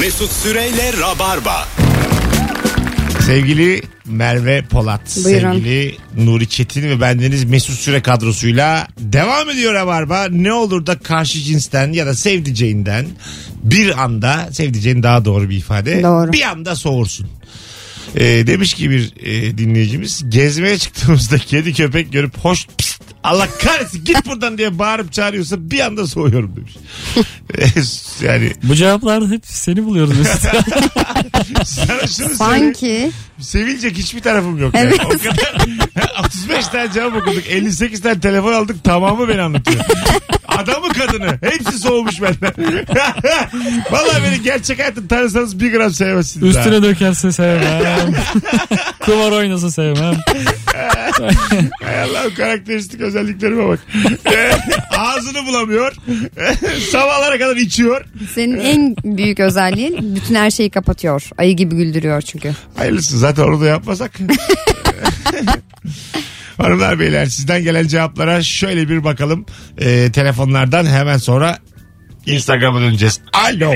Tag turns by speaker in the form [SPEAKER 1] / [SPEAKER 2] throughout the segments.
[SPEAKER 1] Mesut Süreyle Rabarba.
[SPEAKER 2] Sevgili Merve Polat,
[SPEAKER 3] Buyurun.
[SPEAKER 2] sevgili Nuri Çetin ve bendeniz Mesut Süre kadrosuyla devam ediyor Rabarba. Ne olur da karşı cinsten ya da sevdiceğinden bir anda, sevdiceğin daha doğru bir ifade,
[SPEAKER 3] Doğru.
[SPEAKER 2] bir anda soğursun. Ee, demiş ki bir e, dinleyicimiz gezmeye çıktığımızda kedi köpek görüp hoş pist, Allah kahretsin git buradan diye bağırıp çağırıyorsa bir anda soğuyorum demiş. yani
[SPEAKER 4] Bu cevaplar hep seni buluyoruz Mesut.
[SPEAKER 2] sana şunu söyleyeyim.
[SPEAKER 3] Sanki
[SPEAKER 2] Sevilecek hiçbir tarafım yok. yani. O kadar 35 tane cevap okuduk. 58 tane telefon aldık. Tamamı beni anlatıyor. Adamı kadını. Hepsi soğumuş benden. Vallahi beni gerçek hayatta tanısanız bir gram sevmezsiniz.
[SPEAKER 4] Üstüne dökerse sevmem. Kumar oynasa sevmem.
[SPEAKER 2] ha. Hay Allah'ım karakteristik özelliklerime bak. Ağzını bulamıyor. Sabahlara kadar içiyor.
[SPEAKER 3] senin en büyük özelliğin bütün her şeyi kapatıyor. Ayı gibi güldürüyor çünkü.
[SPEAKER 2] Hayırlısı zaten onu da yapmasak. Hanımlar beyler sizden gelen cevaplara şöyle bir bakalım. Ee, telefonlardan hemen sonra Instagram'a döneceğiz. Alo.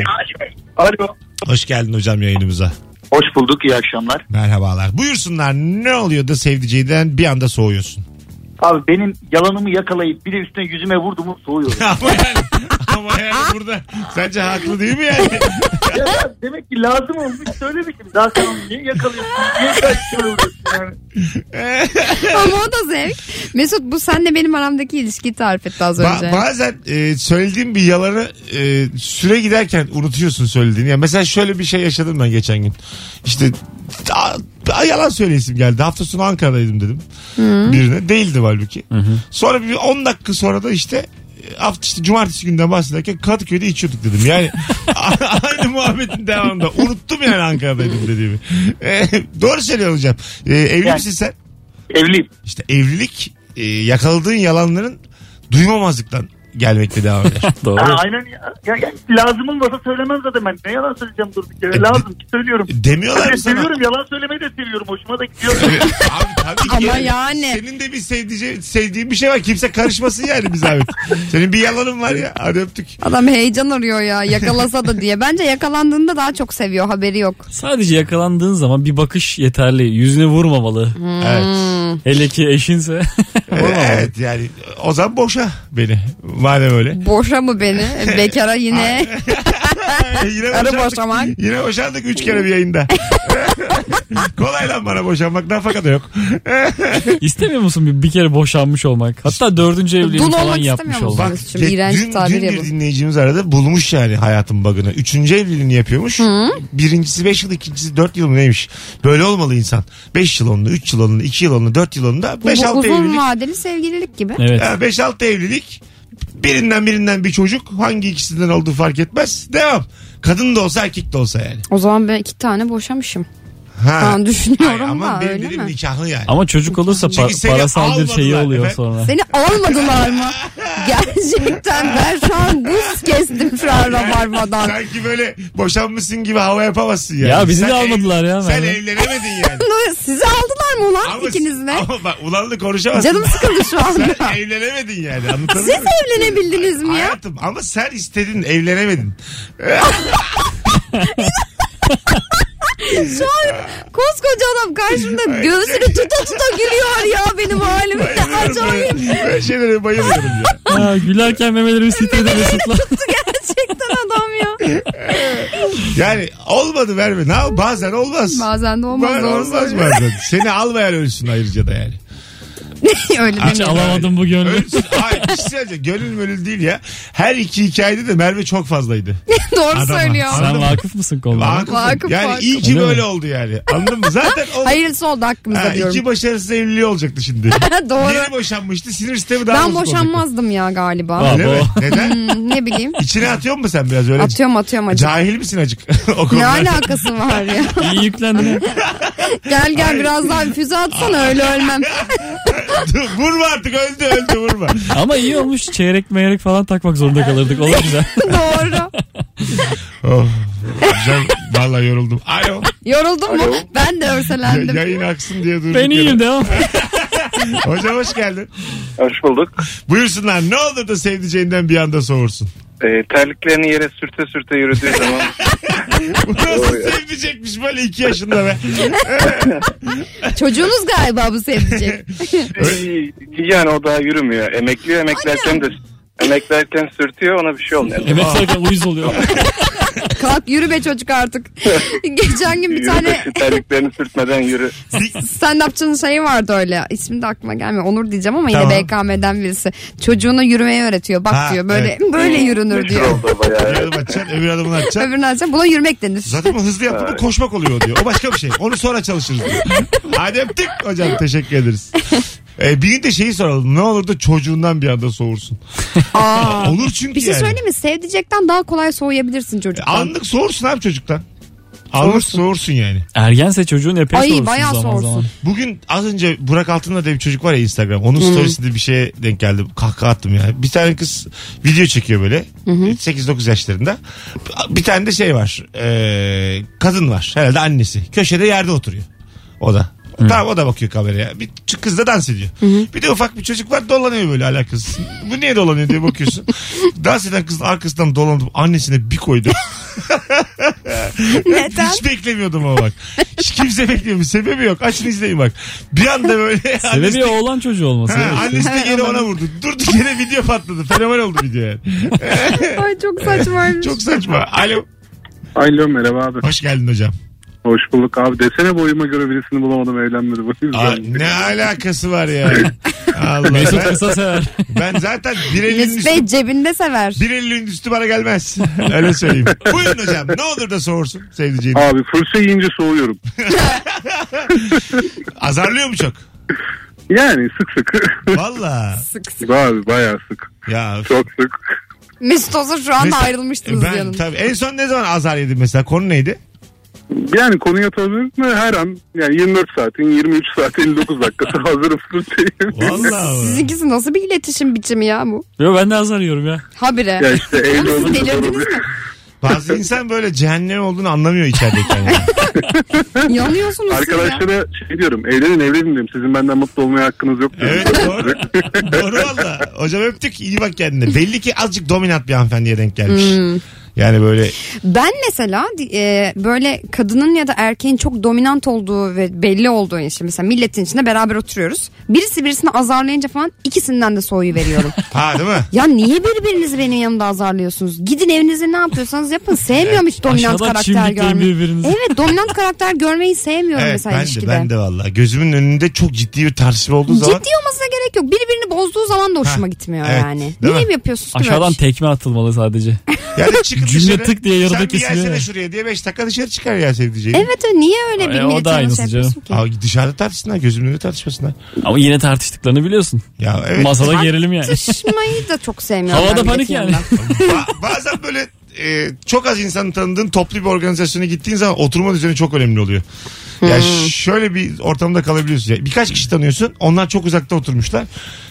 [SPEAKER 5] Alo.
[SPEAKER 2] Hoş geldin hocam yayınımıza.
[SPEAKER 5] Hoş bulduk iyi akşamlar.
[SPEAKER 2] Merhabalar. Buyursunlar ne oluyor da sevdiceğinden bir anda soğuyorsun?
[SPEAKER 5] Abi benim yalanımı yakalayıp bir de üstüne yüzüme vurdu mu soğuyor.
[SPEAKER 2] ama yani, ama yani burada sence haklı değil mi yani?
[SPEAKER 5] Ya ben demek ki lazım olmuş söylemişim. Daha sen onu niye yakalıyorsun? Niye kaçıyorsun? Yani.
[SPEAKER 3] Ama o da zevk. Mesut bu senle benim aramdaki ilişkiyi tarif etti az
[SPEAKER 2] Ba-
[SPEAKER 3] önce.
[SPEAKER 2] bazen e, söylediğim bir yalanı e, süre giderken unutuyorsun söylediğini. Ya mesela şöyle bir şey yaşadım ben geçen gün. İşte a- a- yalan söyleyesim geldi. Hafta sonu Ankara'daydım dedim. Birine. Değildi halbuki. Sonra bir 10 dakika sonra da işte e, hafta işte cumartesi günden bahsederken Kadıköy'de içiyorduk dedim. Yani a- aynı muhabbetin devamında. Unuttum yani Ankara'daydım dediğimi. E, doğru söylüyor hocam. E, evli
[SPEAKER 5] Yani-
[SPEAKER 2] misin sen?
[SPEAKER 5] Evliyim.
[SPEAKER 2] İşte evlilik e, yakaladığın yalanların duymamazlıktan gelmekte devam eder.
[SPEAKER 4] Doğru.
[SPEAKER 5] Ha, aynen ya. Ya- ya lazım olmasa söylemem zaten ben. Ne yalan söyleyeceğim durduk yere. Lazım ki söylüyorum.
[SPEAKER 2] Demiyorlar
[SPEAKER 5] Ben
[SPEAKER 2] mı sana?
[SPEAKER 5] seviyorum yalan söylemeyi de seviyorum. Hoşuma da gidiyor.
[SPEAKER 2] Abi tabii ki.
[SPEAKER 3] Ama yani.
[SPEAKER 2] Senin de bir sevdice, sevdiğin bir şey var. Kimse karışmasın yani biz abi. Senin bir yalanın var ya. Hadi öptük.
[SPEAKER 3] Adam heyecan arıyor ya yakalasa da diye. Bence yakalandığında daha çok seviyor haberi yok.
[SPEAKER 4] Sadece yakalandığın zaman bir bakış yeterli. Yüzüne vurmamalı.
[SPEAKER 3] Hmm.
[SPEAKER 2] Evet.
[SPEAKER 4] Hele ki eşinse.
[SPEAKER 2] evet yani o zaman boşa beni. Madem öyle.
[SPEAKER 3] Boşa mı beni? Bekara yine.
[SPEAKER 2] yine
[SPEAKER 3] Karı
[SPEAKER 2] boşandık.
[SPEAKER 3] boşamak.
[SPEAKER 2] Yine boşandık üç kere bir yayında. Kolay lan bana boşanmak. Nafaka da yok.
[SPEAKER 4] İstemiyor musun bir, bir kere boşanmış olmak? Hatta dördüncü evliliğini
[SPEAKER 3] Dul
[SPEAKER 4] falan
[SPEAKER 3] olmak
[SPEAKER 4] yapmış
[SPEAKER 3] istemiyor
[SPEAKER 4] olmak.
[SPEAKER 3] musun? Mesut'cum, iğrenç
[SPEAKER 2] dün,
[SPEAKER 3] tabir
[SPEAKER 2] dün bir
[SPEAKER 3] yapın.
[SPEAKER 2] dinleyicimiz aradı bulmuş yani hayatın bug'ını. Üçüncü evliliğini yapıyormuş. Birincisi beş yıl ikincisi dört yıl mı neymiş. Böyle olmalı insan. Beş yıl onunla üç yıl onunla iki yıl onunla dört yıl onunla
[SPEAKER 3] Bu
[SPEAKER 2] beş altı
[SPEAKER 3] uzun
[SPEAKER 2] evlilik.
[SPEAKER 3] vadeli sevgililik gibi.
[SPEAKER 4] Evet.
[SPEAKER 2] Ha, beş altı evlilik. Birinden birinden bir çocuk hangi ikisinden olduğu fark etmez. Devam. Kadın da olsa erkek de olsa yani.
[SPEAKER 3] O zaman ben iki tane boşamışım.
[SPEAKER 2] Ha.
[SPEAKER 3] Ben düşünüyorum
[SPEAKER 2] Ay, ama
[SPEAKER 3] da,
[SPEAKER 2] benim
[SPEAKER 3] öyle
[SPEAKER 2] dedim
[SPEAKER 3] mi?
[SPEAKER 2] nikahlı yani.
[SPEAKER 4] Ama çocuk olursa pa-
[SPEAKER 2] Çünkü seni
[SPEAKER 4] parasal bir
[SPEAKER 2] almadılar
[SPEAKER 4] şeyi oluyor
[SPEAKER 2] efendim.
[SPEAKER 4] sonra.
[SPEAKER 3] Seni almadılar mı? Gerçekten ben şu an buz kestim şu an rabarbadan.
[SPEAKER 2] Sanki böyle boşanmışsın gibi hava yapamazsın yani.
[SPEAKER 4] Ya bizi de
[SPEAKER 2] ev-
[SPEAKER 4] almadılar ya.
[SPEAKER 2] Sen
[SPEAKER 4] Merve.
[SPEAKER 2] evlenemedin yani.
[SPEAKER 3] Sizi aldılar mı ulan ikiniz de?
[SPEAKER 2] Ama bak ulanlı konuşamazsın.
[SPEAKER 3] Canım sıkıldı şu an.
[SPEAKER 2] Sen evlenemedin yani
[SPEAKER 3] Siz
[SPEAKER 2] anlatabiliyor muyum?
[SPEAKER 3] evlenebildiniz mi ya?
[SPEAKER 2] Hayatım ama sen istedin evlenemedin.
[SPEAKER 3] Şu an koskoca adam karşımda göğsünü tuta tuta gülüyor ya benim halime. Acayip
[SPEAKER 2] Bayılıyorum böyle, böyle şeylere bayılıyorum ya.
[SPEAKER 4] Ha, gülerken memelerimi titredi Mesut'la.
[SPEAKER 3] gerçekten adam ya.
[SPEAKER 2] Yani olmadı verme. Ne yap- Bazen olmaz.
[SPEAKER 3] Bazen de olmaz
[SPEAKER 2] Bazen
[SPEAKER 3] doğru
[SPEAKER 2] olmaz
[SPEAKER 3] söylüyor.
[SPEAKER 2] bazen. Seni almayan ölsün ayrıca da yani.
[SPEAKER 3] Öyle
[SPEAKER 4] Hiç
[SPEAKER 3] demiyorum.
[SPEAKER 4] alamadım bu gönlü.
[SPEAKER 2] Ölsün. Hayır bir şey söyleyeceğim. Gönül mölül değil ya. Her iki hikayede de Merve çok fazlaydı.
[SPEAKER 3] doğru
[SPEAKER 2] Adama.
[SPEAKER 3] söylüyor.
[SPEAKER 4] Sen vakıf mısın konulara?
[SPEAKER 2] Vakıfım.
[SPEAKER 3] Vakıf,
[SPEAKER 2] yani
[SPEAKER 3] vakıf.
[SPEAKER 2] iyi ki
[SPEAKER 4] Öyle mi?
[SPEAKER 2] böyle oldu yani. Anladın mı? Zaten o...
[SPEAKER 3] Hayırlısı oldu hakkımızda
[SPEAKER 2] Ha,
[SPEAKER 3] diyorum.
[SPEAKER 2] iki başarısız evliliği olacaktı şimdi.
[SPEAKER 3] doğru.
[SPEAKER 2] Yeni boşanmıştı. Sinir sistemi daha
[SPEAKER 3] Ben
[SPEAKER 2] bozuk olacaktı.
[SPEAKER 3] boşanmazdım ya galiba.
[SPEAKER 4] Aa,
[SPEAKER 2] Öyle mi? Neden?
[SPEAKER 3] Hmm, ne bileyim.
[SPEAKER 2] İçine atıyor musun sen biraz öyle?
[SPEAKER 3] Atıyorum atıyorum acı.
[SPEAKER 2] Cahil misin acık? o
[SPEAKER 3] Ne
[SPEAKER 2] konuda.
[SPEAKER 3] alakası var ya?
[SPEAKER 4] İyi yüklendin.
[SPEAKER 3] Gel gel biraz daha bir füze atsana öyle ölmem.
[SPEAKER 2] Dur, vurma artık öldü öldü vurma.
[SPEAKER 4] Ama iyi olmuş. Çeyrek meyrek falan takmak zorunda kalırdık. Olur güzel.
[SPEAKER 3] Doğru.
[SPEAKER 2] Oh. Hocam valla yoruldum. Alo.
[SPEAKER 3] Yoruldun mu? Ben de
[SPEAKER 2] Ya-
[SPEAKER 3] örselendim.
[SPEAKER 2] yayın aksın diye durduk.
[SPEAKER 4] Ben
[SPEAKER 2] yere.
[SPEAKER 4] iyiyim devam.
[SPEAKER 2] Hocam hoş geldin.
[SPEAKER 6] Hoş bulduk.
[SPEAKER 2] Buyursunlar ne
[SPEAKER 6] E,
[SPEAKER 2] olur da sevdiceğinden bir anda soğursun.
[SPEAKER 6] Ee, terliklerini yere sürte sürte yürüdüğü zaman
[SPEAKER 2] Bu nasıl sevdicekmiş böyle iki yaşında be.
[SPEAKER 3] Çocuğunuz galiba bu sevdicek.
[SPEAKER 2] Öyle-
[SPEAKER 6] Yani o daha yürümüyor. Emekliyor emeklerken de emeklerken sürtüyor ona bir şey olmuyor.
[SPEAKER 4] Evet zaten uyuz oluyor.
[SPEAKER 3] Kalk yürü be çocuk artık. Geçen gün bir
[SPEAKER 6] Yürü de
[SPEAKER 3] tane
[SPEAKER 6] şu terliklerini sürtmeden yürü.
[SPEAKER 3] stand-upçının şeyi vardı öyle. İsmi de aklıma gelmiyor. Onur diyeceğim ama yine
[SPEAKER 2] Tamam.
[SPEAKER 3] BKM'den birisi. Çocuğuna yürümeyi öğretiyor. Bak
[SPEAKER 2] Ha,
[SPEAKER 3] diyor böyle böyle yürünür
[SPEAKER 6] Meşhur
[SPEAKER 3] diyor.
[SPEAKER 6] oldu o bayağı.
[SPEAKER 2] Bir adım atacaksın öbür adımını atacaksın.
[SPEAKER 3] Öbürüne açacağım. Buna yürümek denir.
[SPEAKER 2] Zaten bu hızlı yapımı koşmak oluyor o diyor. O başka bir şey. Onu sonra çalışırız diyor. Hadi öptük hocam teşekkür ederiz. Ee, bir de şeyi soralım. Ne olur da çocuğundan bir anda soğursun.
[SPEAKER 3] Aa.
[SPEAKER 2] Olur çünkü
[SPEAKER 3] Bir şey
[SPEAKER 2] yani.
[SPEAKER 3] söyleyeyim mi? Sevdicekten daha kolay soğuyabilirsin çocuktan.
[SPEAKER 2] Anlık soğursun abi çocuktan. Anlık soğursun yani.
[SPEAKER 4] Ergense çocuğun epey
[SPEAKER 3] Ay,
[SPEAKER 4] soğursun
[SPEAKER 3] bayağı
[SPEAKER 4] zaman
[SPEAKER 3] soğursun.
[SPEAKER 4] zaman.
[SPEAKER 2] Bugün az önce Burak Altın'la diye bir çocuk var ya Instagram. Onun storiesinde bir şeye denk geldi. Kahkaha attım ya. Bir tane kız video çekiyor böyle. 8-9 yaşlarında. Bir tane de şey var. Ee, kadın var. Herhalde annesi. Köşede yerde oturuyor. O da. Tamam o da bakıyor kameraya. Bir ç- kız da dans ediyor. Bir de ufak bir çocuk var dolanıyor böyle alakasız. Bu niye dolanıyor diye bakıyorsun. dans eden kızın arkasından dolanıp annesine bir koydu.
[SPEAKER 3] Neden?
[SPEAKER 2] Hiç beklemiyordum ama bak. Hiç kimse beklemiyor. Sebebi yok. Açın izleyin bak. Bir anda böyle annesi,
[SPEAKER 4] Sebebi oğlan çocuğu olması.
[SPEAKER 2] ha,
[SPEAKER 4] evet.
[SPEAKER 2] annesi de geri ona vurdu. Durduk yere video patladı. Fenomen oldu video yani.
[SPEAKER 3] Ay çok saçmaymış.
[SPEAKER 2] Çok saçma. Alo.
[SPEAKER 7] Alo merhaba abi.
[SPEAKER 2] Hoş geldin hocam.
[SPEAKER 7] Hoş bulduk abi. Desene boyuma göre birisini bulamadım evlenmedi. Bu
[SPEAKER 2] Aa,
[SPEAKER 7] yüzden.
[SPEAKER 2] ne alakası var ya? Allah.
[SPEAKER 4] Mesut
[SPEAKER 2] Ben,
[SPEAKER 4] kısa sever.
[SPEAKER 2] ben zaten bir elinin
[SPEAKER 3] Mesut
[SPEAKER 2] üstü
[SPEAKER 3] Bey cebinde sever.
[SPEAKER 2] bir elinin üstü bana gelmez. Öyle söyleyeyim. Buyurun hocam. Ne olur da soğursun sevdiceğini.
[SPEAKER 7] Abi fırça yiyince soğuyorum.
[SPEAKER 2] Azarlıyor mu çok?
[SPEAKER 7] Yani sık sık.
[SPEAKER 2] Valla.
[SPEAKER 3] Sık sık.
[SPEAKER 7] abi bayağı sık.
[SPEAKER 2] Ya
[SPEAKER 7] Çok sık.
[SPEAKER 3] Mesut olsa şu anda
[SPEAKER 2] Mesut-
[SPEAKER 3] ayrılmıştınız
[SPEAKER 2] ben
[SPEAKER 3] yanında.
[SPEAKER 2] tabii en son ne zaman azar yedin mesela? Konu neydi?
[SPEAKER 7] Yani konuya tanıyorum ve her an yani 24 saatin 23 saat 59 dakikası hazırım fırçayı.
[SPEAKER 2] Valla.
[SPEAKER 3] Sizinkisi nasıl bir iletişim biçimi ya bu?
[SPEAKER 4] Yo ben de az arıyorum ya.
[SPEAKER 3] Habire.
[SPEAKER 7] ya işte evli
[SPEAKER 3] Oğlum siz
[SPEAKER 7] olunca
[SPEAKER 3] delirdiniz
[SPEAKER 7] sorun-
[SPEAKER 3] mi?
[SPEAKER 2] Bazı insan böyle cehennem olduğunu anlamıyor içerideyken. Yani.
[SPEAKER 3] Yanıyorsunuz siz ya.
[SPEAKER 7] Arkadaşlara şey diyorum evlenin evlenin diyorum sizin benden mutlu olmaya hakkınız yok diyorum.
[SPEAKER 2] evet doğru. doğru valla. Hocam öptük iyi bak kendine. Belli ki azıcık dominant bir hanımefendiye denk gelmiş. Yani böyle
[SPEAKER 3] Ben mesela e, böyle kadının ya da erkeğin çok dominant olduğu ve belli olduğu için mesela milletin içinde beraber oturuyoruz. Birisi birisini azarlayınca falan ikisinden de soğuyu veriyorum.
[SPEAKER 2] ha değil mi?
[SPEAKER 3] ya niye birbirinizi benim yanımda azarlıyorsunuz? Gidin evinizde ne yapıyorsanız yapın. Sevmiyorum hiç dominant
[SPEAKER 4] Aşağıdan
[SPEAKER 3] karakter
[SPEAKER 4] çimdikleyin
[SPEAKER 3] görmeyi.
[SPEAKER 4] birbirinizi.
[SPEAKER 3] Evet dominant karakter görmeyi sevmiyorum
[SPEAKER 2] Evet
[SPEAKER 3] mesela
[SPEAKER 2] ben de,
[SPEAKER 3] ilişkide.
[SPEAKER 2] ben de valla. Gözümün önünde çok ciddi bir tartışma olduğu zaman.
[SPEAKER 3] Ciddi olmasına gerek yok. Birbirini bozduğu zaman da hoşuma
[SPEAKER 2] Ha,
[SPEAKER 3] gitmiyor
[SPEAKER 2] evet.
[SPEAKER 3] yani.
[SPEAKER 2] Değil
[SPEAKER 3] niye
[SPEAKER 2] mi?
[SPEAKER 3] yapıyorsunuz ki böyle
[SPEAKER 4] Aşağıdan
[SPEAKER 3] bir şey?
[SPEAKER 4] tekme atılmalı sadece.
[SPEAKER 2] Yani çıkın
[SPEAKER 4] Cümle
[SPEAKER 2] dışarı.
[SPEAKER 4] tık diye yarıda
[SPEAKER 2] Sen bir
[SPEAKER 4] kesiliyor
[SPEAKER 2] gelsene
[SPEAKER 4] ya.
[SPEAKER 2] şuraya diye 5 dakika dışarı çıkar ya sevdiceğini.
[SPEAKER 3] Evet evet, niye öyle bir
[SPEAKER 4] E, o da
[SPEAKER 3] milletin yanında
[SPEAKER 4] aynısı
[SPEAKER 3] şey yapıyorsun ki?
[SPEAKER 2] Aa, dışarıda tartışsınlar gözümün önünde tartışmasınlar.
[SPEAKER 4] Ama yine tartıştıklarını biliyorsun.
[SPEAKER 2] Ya evet.
[SPEAKER 4] Masada gerilim yani.
[SPEAKER 3] Tartışmayı da çok sevmiyorum.
[SPEAKER 4] Havada
[SPEAKER 3] ben milletin
[SPEAKER 4] panik yani.
[SPEAKER 3] yanında.
[SPEAKER 2] Ba- bazen böyle e, çok az insanı tanıdığın toplu bir organizasyona gittiğin zaman oturma düzeni çok önemli oluyor. Ya
[SPEAKER 3] Hmm.
[SPEAKER 2] şöyle bir ortamda kalabiliyorsun. Ya birkaç kişi tanıyorsun. Onlar çok uzakta oturmuşlar.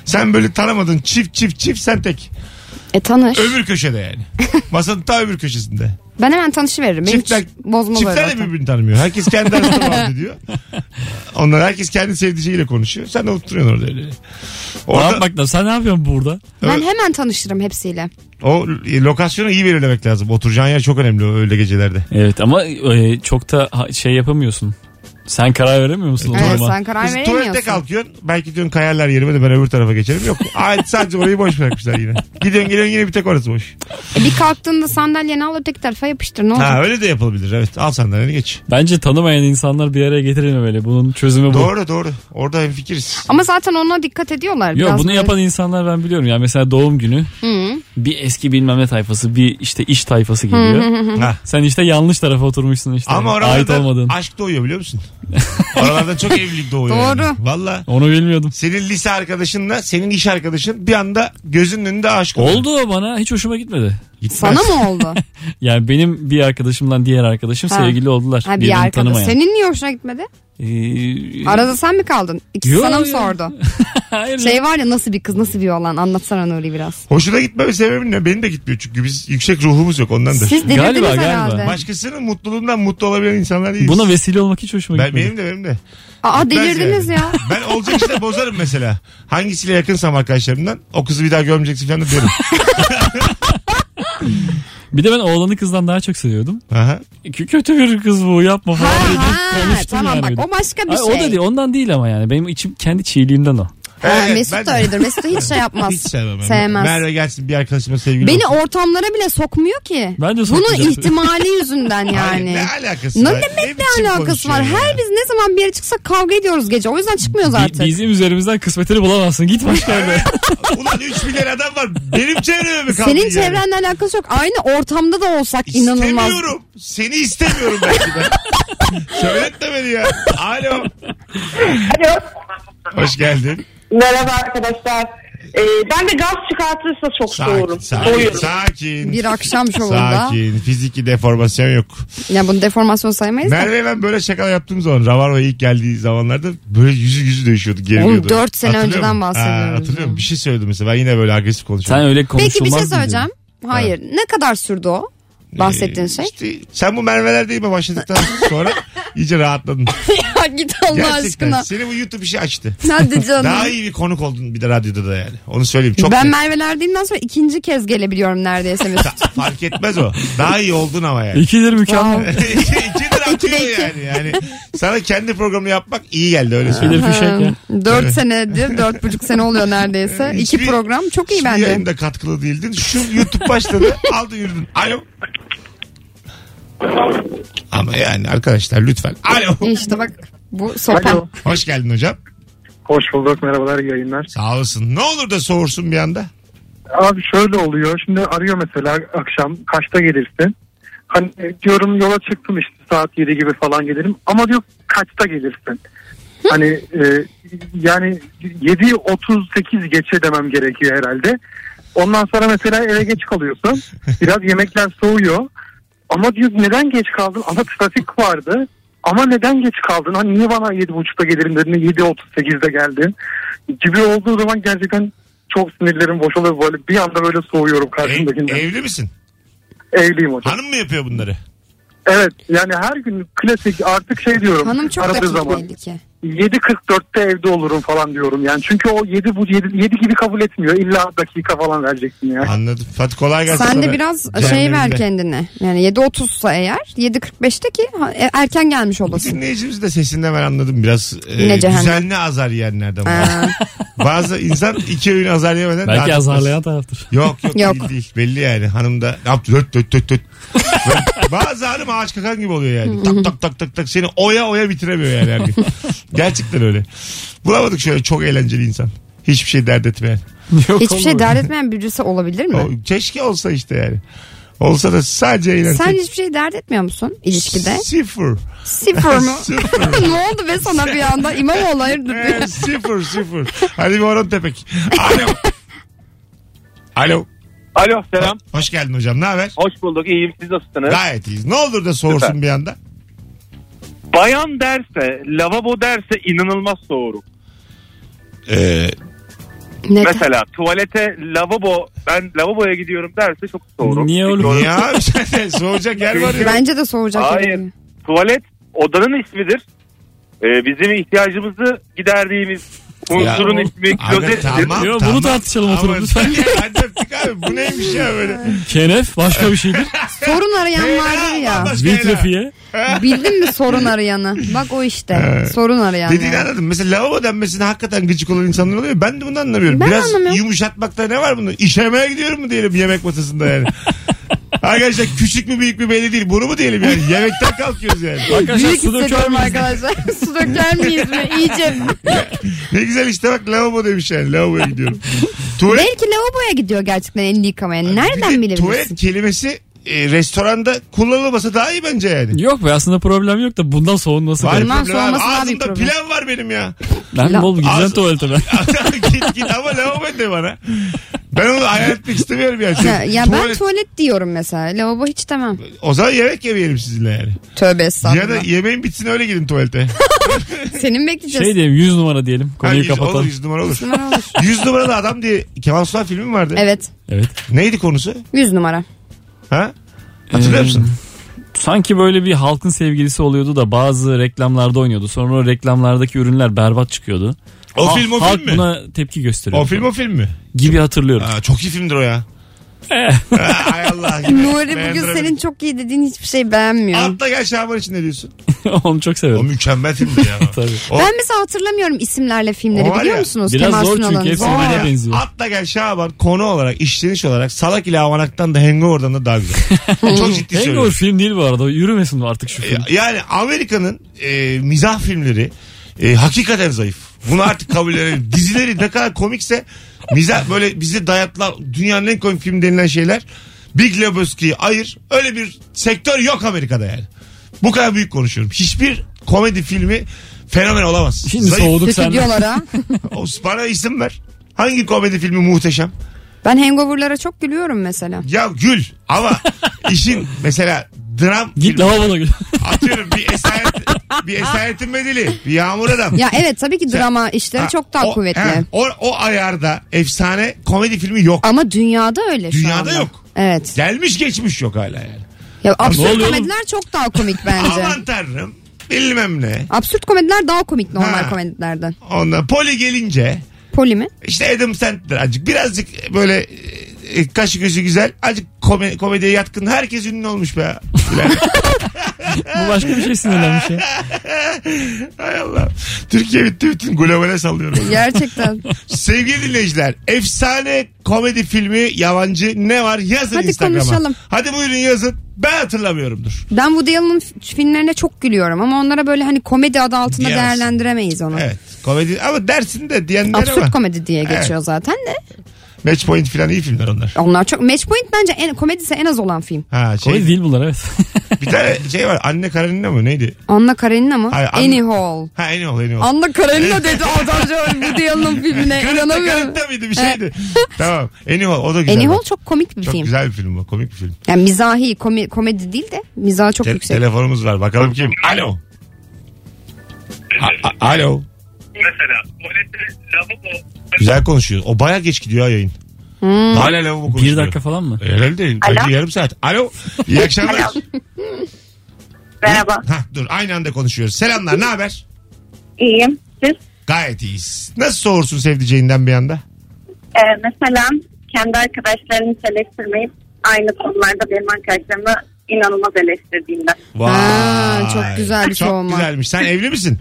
[SPEAKER 2] Sen böyle tanımadın. Çift çift çift sen tek.
[SPEAKER 3] E tanış.
[SPEAKER 2] Öbür köşede yani. Masanın ta öbür köşesinde.
[SPEAKER 3] Ben hemen tanışıveririm. Benim
[SPEAKER 2] Çiftler,
[SPEAKER 3] hiç bozmaz öyle
[SPEAKER 2] çiftler de
[SPEAKER 3] zaten.
[SPEAKER 2] birbirini tanımıyor. Herkes kendi arasında muhabbet ediyor. Onlar herkes kendi sevdiceğiyle konuşuyor. Sen de oturuyorsun orada öyle.
[SPEAKER 4] Ne
[SPEAKER 2] Orada,
[SPEAKER 4] yapmak lazım? Sen ne yapıyorsun burada?
[SPEAKER 3] Ben hemen tanışırım hepsiyle.
[SPEAKER 2] o lokasyonu iyi belirlemek lazım. Oturacağın yer çok önemli öyle gecelerde.
[SPEAKER 4] Evet ama e, çok da ha- şey yapamıyorsun. Sen karar veremiyor musun o
[SPEAKER 3] Evet,
[SPEAKER 4] duruma?
[SPEAKER 3] sen karar
[SPEAKER 2] Kız tuvalette
[SPEAKER 3] veremiyorsun.
[SPEAKER 2] kalkıyorsun. Belki diyorsun kayarlar yerime de ben öbür tarafa geçerim. Yok. Ay, sadece orayı boş bırakmışlar yine. Gidiyorsun geliyorsun yine bir tek orası boş.
[SPEAKER 3] E, bir kalktığında sandalyeni al öteki tarafa yapıştır ne olacak?
[SPEAKER 2] Ha öyle de yapılabilir. Evet. Al sandalyeni geç.
[SPEAKER 4] Bence tanımayan insanlar bir araya getirilmemeli. Bunun çözümü bu.
[SPEAKER 2] Doğru doğru. Orada hemfikiriz.
[SPEAKER 3] Ama zaten ona dikkat ediyorlar.
[SPEAKER 4] Yo,
[SPEAKER 3] biraz
[SPEAKER 4] bunu
[SPEAKER 3] böyle.
[SPEAKER 4] yapan insanlar ben biliyorum. Yani mesela doğum günü
[SPEAKER 3] Hı.
[SPEAKER 4] bir eski bilmem ne tayfası bir işte iş tayfası geliyor.
[SPEAKER 2] Ha.
[SPEAKER 4] Sen işte yanlış tarafa oturmuşsun işte.
[SPEAKER 2] Ama
[SPEAKER 4] Ait
[SPEAKER 2] oralarda
[SPEAKER 4] olmadığın.
[SPEAKER 2] aşk doğuyor biliyor musun? oralarda çok evlilik doğuyor.
[SPEAKER 3] Doğru.
[SPEAKER 2] Yani. Valla.
[SPEAKER 4] Onu bilmiyordum.
[SPEAKER 2] Senin lise arkadaşınla senin iş arkadaşın bir anda gözünün önünde aşk oluyor.
[SPEAKER 4] Oldu o bana hiç hoşuma gitmedi.
[SPEAKER 2] Gitmez.
[SPEAKER 3] Sana mı oldu?
[SPEAKER 4] Yani benim bir arkadaşımdan diğer arkadaşım
[SPEAKER 3] Ha.
[SPEAKER 4] sevgili oldular.
[SPEAKER 3] Ha, bir
[SPEAKER 4] Birbirini
[SPEAKER 3] arkadaş.
[SPEAKER 4] tanımayan.
[SPEAKER 3] Senin niye hoşuna gitmedi?
[SPEAKER 4] Ee,
[SPEAKER 3] Arada sen mi kaldın? İkisi
[SPEAKER 4] Yo,
[SPEAKER 3] sana mı
[SPEAKER 4] yo.
[SPEAKER 3] sordu?
[SPEAKER 4] hayır.
[SPEAKER 3] Şey var ya nasıl bir kız nasıl bir olan anlatsana Nuri biraz.
[SPEAKER 2] Hoşuna gitmeme sebebim ne? Benim de gitmiyor çünkü biz yüksek ruhumuz yok ondandır.
[SPEAKER 3] Siz delirdiniz
[SPEAKER 4] Galiba, galiba.
[SPEAKER 3] herhalde.
[SPEAKER 2] Başkasının mutluluğundan mutlu olabilen insanlar değiliz.
[SPEAKER 4] Buna vesile olmak hiç hoşuma
[SPEAKER 2] ben,
[SPEAKER 4] gitmedi.
[SPEAKER 2] benim de benim de.
[SPEAKER 3] Aa
[SPEAKER 2] Gitmez
[SPEAKER 3] delirdiniz
[SPEAKER 2] yani.
[SPEAKER 3] ya.
[SPEAKER 2] Ben olacak işte bozarım mesela. Hangisiyle yakınsam arkadaşlarımdan o kızı bir daha görmeyeceksin falan da derim.
[SPEAKER 4] Bir de ben oğlanı kızdan daha çok seviyordum. E,
[SPEAKER 2] Aha.
[SPEAKER 4] Kö- Kötü bir kız bu yapma
[SPEAKER 3] Ha
[SPEAKER 4] falan. diye
[SPEAKER 3] ha
[SPEAKER 4] konuştum
[SPEAKER 3] tamam
[SPEAKER 4] yani bir de.
[SPEAKER 3] bak o başka bir
[SPEAKER 4] Ay,
[SPEAKER 3] şey.
[SPEAKER 4] O da değil ondan değil ama yani. Benim içim kendi çiğliğimden o.
[SPEAKER 3] Ha,
[SPEAKER 2] Evet,
[SPEAKER 3] Mesut
[SPEAKER 2] ben-
[SPEAKER 3] da öyledir. Mesut da hiç şey yapmaz.
[SPEAKER 2] Hiç sevmem. ben.
[SPEAKER 3] Sevmez.
[SPEAKER 2] Merve gelsin bir arkadaşıma sevgili
[SPEAKER 3] Beni
[SPEAKER 2] olsun.
[SPEAKER 3] ortamlara bile sokmuyor ki.
[SPEAKER 4] Ben de
[SPEAKER 3] Bunun
[SPEAKER 4] sokmayacağım.
[SPEAKER 3] ihtimali yüzünden
[SPEAKER 2] Hayır,
[SPEAKER 3] yani.
[SPEAKER 2] Ne alakası
[SPEAKER 3] Ne
[SPEAKER 2] var?
[SPEAKER 3] demek
[SPEAKER 2] biçim
[SPEAKER 3] ne alakası var?
[SPEAKER 2] konuşuyor
[SPEAKER 3] Her
[SPEAKER 2] ya?
[SPEAKER 3] biz ne zaman bir yere çıksak kavga ediyoruz gece. O yüzden çıkmıyoruz
[SPEAKER 4] Bi-
[SPEAKER 3] artık.
[SPEAKER 4] Bizim üzerimizden kısmetini bulamazsın. Git başka yerde.
[SPEAKER 2] Ulan 3 milyar adam var. Benim çevreme mi kaldı
[SPEAKER 3] Senin
[SPEAKER 2] yani?
[SPEAKER 3] çevrenle alakası yok. Aynı ortamda da olsak inanılmaz.
[SPEAKER 2] İstemiyorum. Seni istemiyorum belki de. Söyletme beni ya. Alo.
[SPEAKER 8] Alo.
[SPEAKER 2] Hoş geldin.
[SPEAKER 8] Merhaba arkadaşlar. Ee, ben de gaz çıkartırsa çok
[SPEAKER 2] Sakin.
[SPEAKER 8] soğurum.
[SPEAKER 2] Sakin.
[SPEAKER 8] Soğuyorum.
[SPEAKER 2] Sakin.
[SPEAKER 3] Bir akşam şovunda.
[SPEAKER 2] Sakin. Fiziki deformasyon yok.
[SPEAKER 3] Ya bunu deformasyon saymayız da.
[SPEAKER 2] Merve ben böyle şakalar yaptığım zaman Ravarva ilk geldiği zamanlarda böyle yüzü yüzü değişiyordu. Geriliyordu.
[SPEAKER 3] Oğlum, dört sene
[SPEAKER 2] Hatırlıyor
[SPEAKER 3] önceden
[SPEAKER 2] musun?
[SPEAKER 3] bahsediyoruz
[SPEAKER 2] Ha, hatırlıyor
[SPEAKER 3] ya.
[SPEAKER 2] musun? Bir şey söyledim mesela. Ben yine böyle agresif konuşuyorum.
[SPEAKER 4] Sen öyle konuşulmaz.
[SPEAKER 3] Peki bir şey
[SPEAKER 4] mıydı?
[SPEAKER 3] söyleyeceğim. Hayır. Ne kadar sürdü o? Bahsettiğin
[SPEAKER 2] Ee,
[SPEAKER 3] şey.
[SPEAKER 2] işte sen bu merveler değil mi başladıktan sonra iyice rahatladın.
[SPEAKER 3] ya git Allah
[SPEAKER 2] Gerçekten.
[SPEAKER 3] aşkına.
[SPEAKER 2] Seni bu YouTube işi açtı.
[SPEAKER 3] Hadi canım.
[SPEAKER 2] Daha iyi bir konuk oldun bir de radyoda da yani. Onu söyleyeyim. Çok
[SPEAKER 3] ben
[SPEAKER 2] net.
[SPEAKER 3] Merve'lerdiğimden sonra ikinci kez gelebiliyorum neredeyse Mesut.
[SPEAKER 2] Fark etmez o. Daha iyi oldun ama yani.
[SPEAKER 4] İkidir mükemmel.
[SPEAKER 2] İkidir atıyor
[SPEAKER 3] İkide iki.
[SPEAKER 2] yani. yani. Sana kendi programı yapmak iyi geldi öyle söyleyeyim.
[SPEAKER 4] İkidir fişek ya.
[SPEAKER 3] Dört senedir, dört buçuk sene oluyor neredeyse.
[SPEAKER 2] Hiçbir-
[SPEAKER 3] İki program çok iyi
[SPEAKER 2] Hiçbir
[SPEAKER 3] bence.
[SPEAKER 2] yayında katkılı değildin. Şu YouTube başladı aldı yürüdün. Alo. Ama yani arkadaşlar lütfen. Alo.
[SPEAKER 3] İşte bak bu sopa.
[SPEAKER 7] Alo.
[SPEAKER 2] Hoş geldin hocam.
[SPEAKER 7] Hoş bulduk. Merhabalar iyi yayınlar.
[SPEAKER 2] Sağ olasın. Ne olur da soğursun bir anda.
[SPEAKER 7] Abi şöyle oluyor. Şimdi arıyor mesela akşam kaçta gelirsin? Hani diyorum yola çıktım işte saat 7 gibi falan gelirim. Ama diyor kaçta gelirsin? Hani e, yani 7.38 geçe demem gerekiyor herhalde. Ondan sonra mesela eve geç kalıyorsun. Biraz yemekler soğuyor. Ama diyor neden geç kaldın? Ama trafik vardı. Ama neden geç kaldın? Hani niye bana 7.30'da gelirim dedin de 7.38'de geldin? Gibi olduğu zaman gerçekten çok sinirlerim boşalıyor. Böyle bir anda böyle soğuyorum
[SPEAKER 2] Ev-
[SPEAKER 7] karşımdakinden.
[SPEAKER 2] evli misin?
[SPEAKER 7] Evliyim hocam.
[SPEAKER 2] Hanım mı yapıyor bunları?
[SPEAKER 7] Evet yani her gün klasik artık şey diyorum.
[SPEAKER 3] Hanım çok
[SPEAKER 7] aradığı
[SPEAKER 3] dakik
[SPEAKER 7] zaman.
[SPEAKER 3] belli ki.
[SPEAKER 7] 7.44'te evde olurum falan diyorum yani. Çünkü o 7 bu 7, 7 gibi kabul etmiyor. İlla dakika falan vereceksin ya.
[SPEAKER 2] Anladım. Fatih kolay gelsin.
[SPEAKER 3] Sen de
[SPEAKER 2] sana.
[SPEAKER 3] biraz şey
[SPEAKER 2] Cehennemde.
[SPEAKER 3] ver kendine. Yani 7.30'sa eğer 7.45'te ki ha, e, erken gelmiş olasın.
[SPEAKER 2] Dinleyicimiz de sesinden ben anladım biraz e,
[SPEAKER 3] Yine cehennem.
[SPEAKER 2] düzenli azar yiyenlerden var.
[SPEAKER 3] Aa,
[SPEAKER 2] Bazı insan iki öğün azar yemeden
[SPEAKER 4] Belki
[SPEAKER 2] rahat etmez.
[SPEAKER 4] azarlayan taraftır.
[SPEAKER 2] Yok yok,
[SPEAKER 3] Yok.
[SPEAKER 2] Değil, değil. Belli yani hanım da ne yaptı döt döt döt döt. Böyle Bazı hanım ağaç kakan gibi oluyor yani. tak tak tak tak tak seni oya oya bitiremiyor yani her gün. Gerçekten öyle. Bulamadık şöyle çok eğlenceli insan. Hiçbir şey dert etmeyen.
[SPEAKER 4] Yok
[SPEAKER 3] hiçbir şey
[SPEAKER 4] oğlum.
[SPEAKER 3] dert etmeyen birisi olabilir mi?
[SPEAKER 2] O, keşke olsa işte yani. Olsa da sadece eğlensek.
[SPEAKER 3] Sen hiçbir şey dert etmiyor musun ilişkide?
[SPEAKER 2] Sıfır.
[SPEAKER 3] Sıfır mu?
[SPEAKER 2] Sıfır.
[SPEAKER 3] ne oldu be sana bir anda? İmamoğlu hayırdır? diyor.
[SPEAKER 2] Ee, sıfır sıfır. Hadi bir oran tepek. Alo. Alo.
[SPEAKER 9] Alo selam.
[SPEAKER 2] Hoş geldin hocam. Ne haber?
[SPEAKER 9] Hoş bulduk. İyiyim. Siz nasılsınız?
[SPEAKER 2] Gayet iyiyiz. Ne olur da soğursun
[SPEAKER 9] Süper.
[SPEAKER 2] bir anda.
[SPEAKER 9] Bayan derse, lavabo derse inanılmaz soğurum.
[SPEAKER 2] Ee,
[SPEAKER 3] Neden?
[SPEAKER 9] Mesela tuvalete lavabo ben lavaboya gidiyorum derse çok soğurum.
[SPEAKER 4] Niye oğlum?
[SPEAKER 9] Çünkü
[SPEAKER 2] niye abi sen de soğuyacak yer var ya.
[SPEAKER 3] Bence de soğuyacak.
[SPEAKER 9] Hayır.
[SPEAKER 3] yani.
[SPEAKER 9] Tuvalet odanın ismidir. Ee, bizim ihtiyacımızı giderdiğimiz unsurun
[SPEAKER 4] Ya,
[SPEAKER 9] ismi
[SPEAKER 2] Abi
[SPEAKER 9] klozet.
[SPEAKER 2] tamam
[SPEAKER 4] Yo, bunu
[SPEAKER 2] tamam.
[SPEAKER 4] tartışalım oturup
[SPEAKER 2] Ama-
[SPEAKER 4] lütfen.
[SPEAKER 2] Hadi öptük abi bu neymiş ya böyle.
[SPEAKER 4] Kenef başka bir şeydir.
[SPEAKER 3] Sorun arayan vardır ya.
[SPEAKER 2] Bambaşka helal.
[SPEAKER 4] Vitrafiye.
[SPEAKER 3] Bildin mi sorun arayanı? Bak o işte. sorun arayan.
[SPEAKER 2] Dediğini
[SPEAKER 3] yani.
[SPEAKER 2] anladım. Mesela lavabo denmesine hakikaten gıcık olan insanlar oluyor. Ben de bunu anlamıyorum.
[SPEAKER 3] Ben
[SPEAKER 2] Biraz
[SPEAKER 3] anlamıyorum.
[SPEAKER 2] yumuşatmakta ne var bunda? İşemeye gidiyorum mu diyelim yemek masasında yani. Arkadaşlar küçük mü büyük mü belli değil. Bunu mu diyelim yani? Yemekten kalkıyoruz yani.
[SPEAKER 4] Arkadaşlar
[SPEAKER 3] E, Büyük
[SPEAKER 4] su döker
[SPEAKER 3] hissediyorum
[SPEAKER 4] miyiz?
[SPEAKER 3] arkadaşlar. su döker miyiz mi? İyice.
[SPEAKER 2] Ne güzel işte bak lavabo demiş yani. Lavaboya gidiyorum. Tuvalet,
[SPEAKER 3] Belki lavaboya gidiyor gerçekten elini yıkamaya.
[SPEAKER 2] Bir de
[SPEAKER 3] Nereden
[SPEAKER 2] Tuvalet
[SPEAKER 3] bilebilirsin?
[SPEAKER 2] kelimesi e, restoranda kullanılmasa daha iyi bence yani.
[SPEAKER 4] Yok be aslında problem yok da bundan soğunması
[SPEAKER 2] Var
[SPEAKER 4] garip.
[SPEAKER 3] Bundan
[SPEAKER 2] problem abi.
[SPEAKER 3] sonrası daha büyük
[SPEAKER 2] Ağzımda
[SPEAKER 3] problem.
[SPEAKER 2] pilav var benim ya.
[SPEAKER 4] Ben bol
[SPEAKER 2] Ağzı-
[SPEAKER 4] gideceğim tuvalete ben.
[SPEAKER 2] git git ama lavabo de bana. Ben onu hayal etmek istemiyorum yani.
[SPEAKER 3] Ya, ya ben
[SPEAKER 2] Tuvalet-
[SPEAKER 3] tuvalet diyorum mesela. Lavabo hiç demem.
[SPEAKER 2] O zaman yemek yemeyelim sizinle yani.
[SPEAKER 3] Tövbe
[SPEAKER 2] Ya da
[SPEAKER 3] estağfurullah.
[SPEAKER 2] yemeğin bitsin öyle gidin tuvalete.
[SPEAKER 3] Senin bekleyeceğiz.
[SPEAKER 4] Şey diyeyim 100 numara diyelim.
[SPEAKER 2] Ha,
[SPEAKER 4] Konuyu
[SPEAKER 2] yüz, olur
[SPEAKER 4] kapatalım.
[SPEAKER 2] yüz numara olur.
[SPEAKER 3] Numara olur.
[SPEAKER 2] Yüz numaralı adam diye Kemal Sunal filmi mi vardı?
[SPEAKER 3] Evet.
[SPEAKER 4] Evet.
[SPEAKER 2] Neydi konusu?
[SPEAKER 3] 100 numara.
[SPEAKER 2] Ha? Hatırlıyor
[SPEAKER 4] Ee,
[SPEAKER 2] musun?
[SPEAKER 4] Sanki böyle bir halkın sevgilisi oluyordu da bazı reklamlarda oynuyordu. Sonra o reklamlardaki ürünler berbat çıkıyordu.
[SPEAKER 2] O
[SPEAKER 4] Ha-
[SPEAKER 2] film o
[SPEAKER 4] halk
[SPEAKER 2] film mi?
[SPEAKER 4] buna tepki gösteriyor.
[SPEAKER 2] O film o film mi?
[SPEAKER 4] Gibi hatırlıyorum.
[SPEAKER 2] Aa, çok iyi filmdir o ya.
[SPEAKER 4] Eh.
[SPEAKER 2] Ay Allah. gibi.
[SPEAKER 3] Nuri bugün
[SPEAKER 2] Beğendiremedim.
[SPEAKER 3] senin çok iyi dediğin hiçbir şey beğenmiyor.
[SPEAKER 2] Atla gel Şaban için ne diyorsun?
[SPEAKER 4] Onu çok
[SPEAKER 2] O
[SPEAKER 4] severim.
[SPEAKER 2] mükemmel filmdi ya.
[SPEAKER 4] Tabii.
[SPEAKER 2] O-
[SPEAKER 3] Ben mesela hatırlamıyorum isimlerle filmleri
[SPEAKER 2] O var
[SPEAKER 3] biliyor
[SPEAKER 2] ya,
[SPEAKER 3] musunuz?
[SPEAKER 4] biraz
[SPEAKER 3] Kemal
[SPEAKER 4] zor çünkü
[SPEAKER 3] Sunal'ın.
[SPEAKER 4] hepsi
[SPEAKER 3] Zor.
[SPEAKER 4] birbirine
[SPEAKER 2] Ya,
[SPEAKER 4] benziyor.
[SPEAKER 2] Atla gel Şaban konu olarak, işleniş olarak Salak ile Avanak'tan da Hangover'dan da daha güzel. Çok ciddi
[SPEAKER 4] Hangover
[SPEAKER 2] söylüyorum.
[SPEAKER 4] film değil bu arada. Yürümesin artık şu film.
[SPEAKER 2] Ya- Yani Amerika'nın e, mizah filmleri e, hakikaten zayıf. Bunu artık kabul edelim. Dizileri ne kadar komikse mizah böyle bize dayatılan dünyanın en komik film denilen şeyler Big Lebowski'yi ayır. Öyle bir sektör yok Amerika'da yani. Bu kadar büyük konuşuyorum. Hiçbir komedi filmi fenomen olamaz.
[SPEAKER 4] Şimdi
[SPEAKER 2] Zayıf.
[SPEAKER 4] soğuduk
[SPEAKER 3] Kötü
[SPEAKER 4] senden.
[SPEAKER 3] diyorlar ha.
[SPEAKER 2] O, bana isim ver. Hangi komedi filmi muhteşem?
[SPEAKER 3] Ben hangoverlara çok gülüyorum mesela.
[SPEAKER 2] Ya gül ama işin mesela dram
[SPEAKER 4] Git
[SPEAKER 2] filmi.
[SPEAKER 4] lavaboda gül.
[SPEAKER 2] atıyorum bir esaret bir esaretin bedeli bir yağmur adam.
[SPEAKER 3] Ya evet tabii ki
[SPEAKER 2] Sen-
[SPEAKER 3] drama işleri
[SPEAKER 2] Ha,
[SPEAKER 3] çok daha
[SPEAKER 2] o-
[SPEAKER 3] kuvvetli.
[SPEAKER 2] he, o, o ayarda efsane komedi filmi yok.
[SPEAKER 3] Ama dünyada öyle şu
[SPEAKER 2] Dünyada
[SPEAKER 3] anda.
[SPEAKER 2] yok.
[SPEAKER 3] Evet.
[SPEAKER 2] Gelmiş geçmiş yok hala yani.
[SPEAKER 3] Ya
[SPEAKER 4] ne
[SPEAKER 3] absürt
[SPEAKER 4] oluyor oğlum?
[SPEAKER 3] komediler çok daha komik bence.
[SPEAKER 2] Aman tanrım bilmem ne.
[SPEAKER 3] absürt komediler daha komik normal
[SPEAKER 2] Ha.
[SPEAKER 3] komedilerden.
[SPEAKER 2] Ondan poli gelince
[SPEAKER 3] Poli mi?
[SPEAKER 2] işte Adam Sandler azıcık birazcık böyle e, kaşı gözü güzel azıcık kome- komediye yatkın herkes ünlü olmuş be.
[SPEAKER 4] Bu başka bir şey sinirlenmiş ya.
[SPEAKER 2] Hay Allah. Türkiye bitti bütün globale sallıyorum.
[SPEAKER 3] Gerçekten.
[SPEAKER 2] Sevgili dinleyiciler efsane komedi filmi yabancı ne var yazın
[SPEAKER 3] Hadi
[SPEAKER 2] Instagram'a.
[SPEAKER 3] konuşalım.
[SPEAKER 2] Hadi buyurun yazın ben hatırlamıyorumdur.
[SPEAKER 3] ben Woody Allen'ın f- filmlerine çok gülüyorum ama onlara böyle hani komedi adı altında
[SPEAKER 2] Diyemezsin.
[SPEAKER 3] değerlendiremeyiz onu.
[SPEAKER 2] Evet komedi ama dersin de diyenler
[SPEAKER 3] Absürt
[SPEAKER 2] ama.
[SPEAKER 3] komedi diye geçiyor zaten de.
[SPEAKER 2] Match Point falan iyi filmler onlar.
[SPEAKER 3] Onlar çok Match Point bence en komedisi en az olan film.
[SPEAKER 2] Ha, şey,
[SPEAKER 4] Komedi değil bunlar evet.
[SPEAKER 2] bir tane şey var Anne Karenina mı neydi?
[SPEAKER 3] Anna Karenina mı?
[SPEAKER 2] Hayır, Anna-
[SPEAKER 3] Annie Hall.
[SPEAKER 2] Ha en ol en ol.
[SPEAKER 3] Anna Karenina dedi adamcağım Woody Allen'ın filmine
[SPEAKER 2] Karıtta
[SPEAKER 3] inanamıyorum.
[SPEAKER 2] karıtta mıydı bir şeydi. tamam. Anyhow o da güzel.
[SPEAKER 3] Annie Hall çok komik bir
[SPEAKER 2] Çok
[SPEAKER 3] film.
[SPEAKER 2] güzel bir film bu. Komik bir film.
[SPEAKER 3] Yani mizahi komi- komedi değil de mizahı çok
[SPEAKER 2] Te-
[SPEAKER 3] yüksek.
[SPEAKER 2] telefonumuz var. Bakalım kim? Alo. A- a- Alo.
[SPEAKER 9] Mesela tuvalette lavabo
[SPEAKER 2] Güzel konuşuyor. O baya geç gidiyor ha yayın.
[SPEAKER 3] Hmm.
[SPEAKER 2] Hala lavabo konuşuyor.
[SPEAKER 4] bir dakika falan mı?
[SPEAKER 2] Herhalde. Önce yarım saat. Alo. İyi akşamlar.
[SPEAKER 8] Merhaba.
[SPEAKER 2] Hah, dur aynı anda konuşuyoruz. Selamlar ne haber?
[SPEAKER 8] İyiyim. Siz?
[SPEAKER 2] Gayet iyiyiz. Nasıl soğursun sevdiceğinden bir anda?
[SPEAKER 8] Ee, mesela kendi arkadaşlarını hiç eleştirmeyip aynı konularda benim arkadaşlarımı inanılmaz eleştirdiğimde.
[SPEAKER 2] Vay.
[SPEAKER 3] Ha, çok güzel bir
[SPEAKER 2] Çok
[SPEAKER 3] soğuma.
[SPEAKER 2] güzelmiş. Sen evli misin?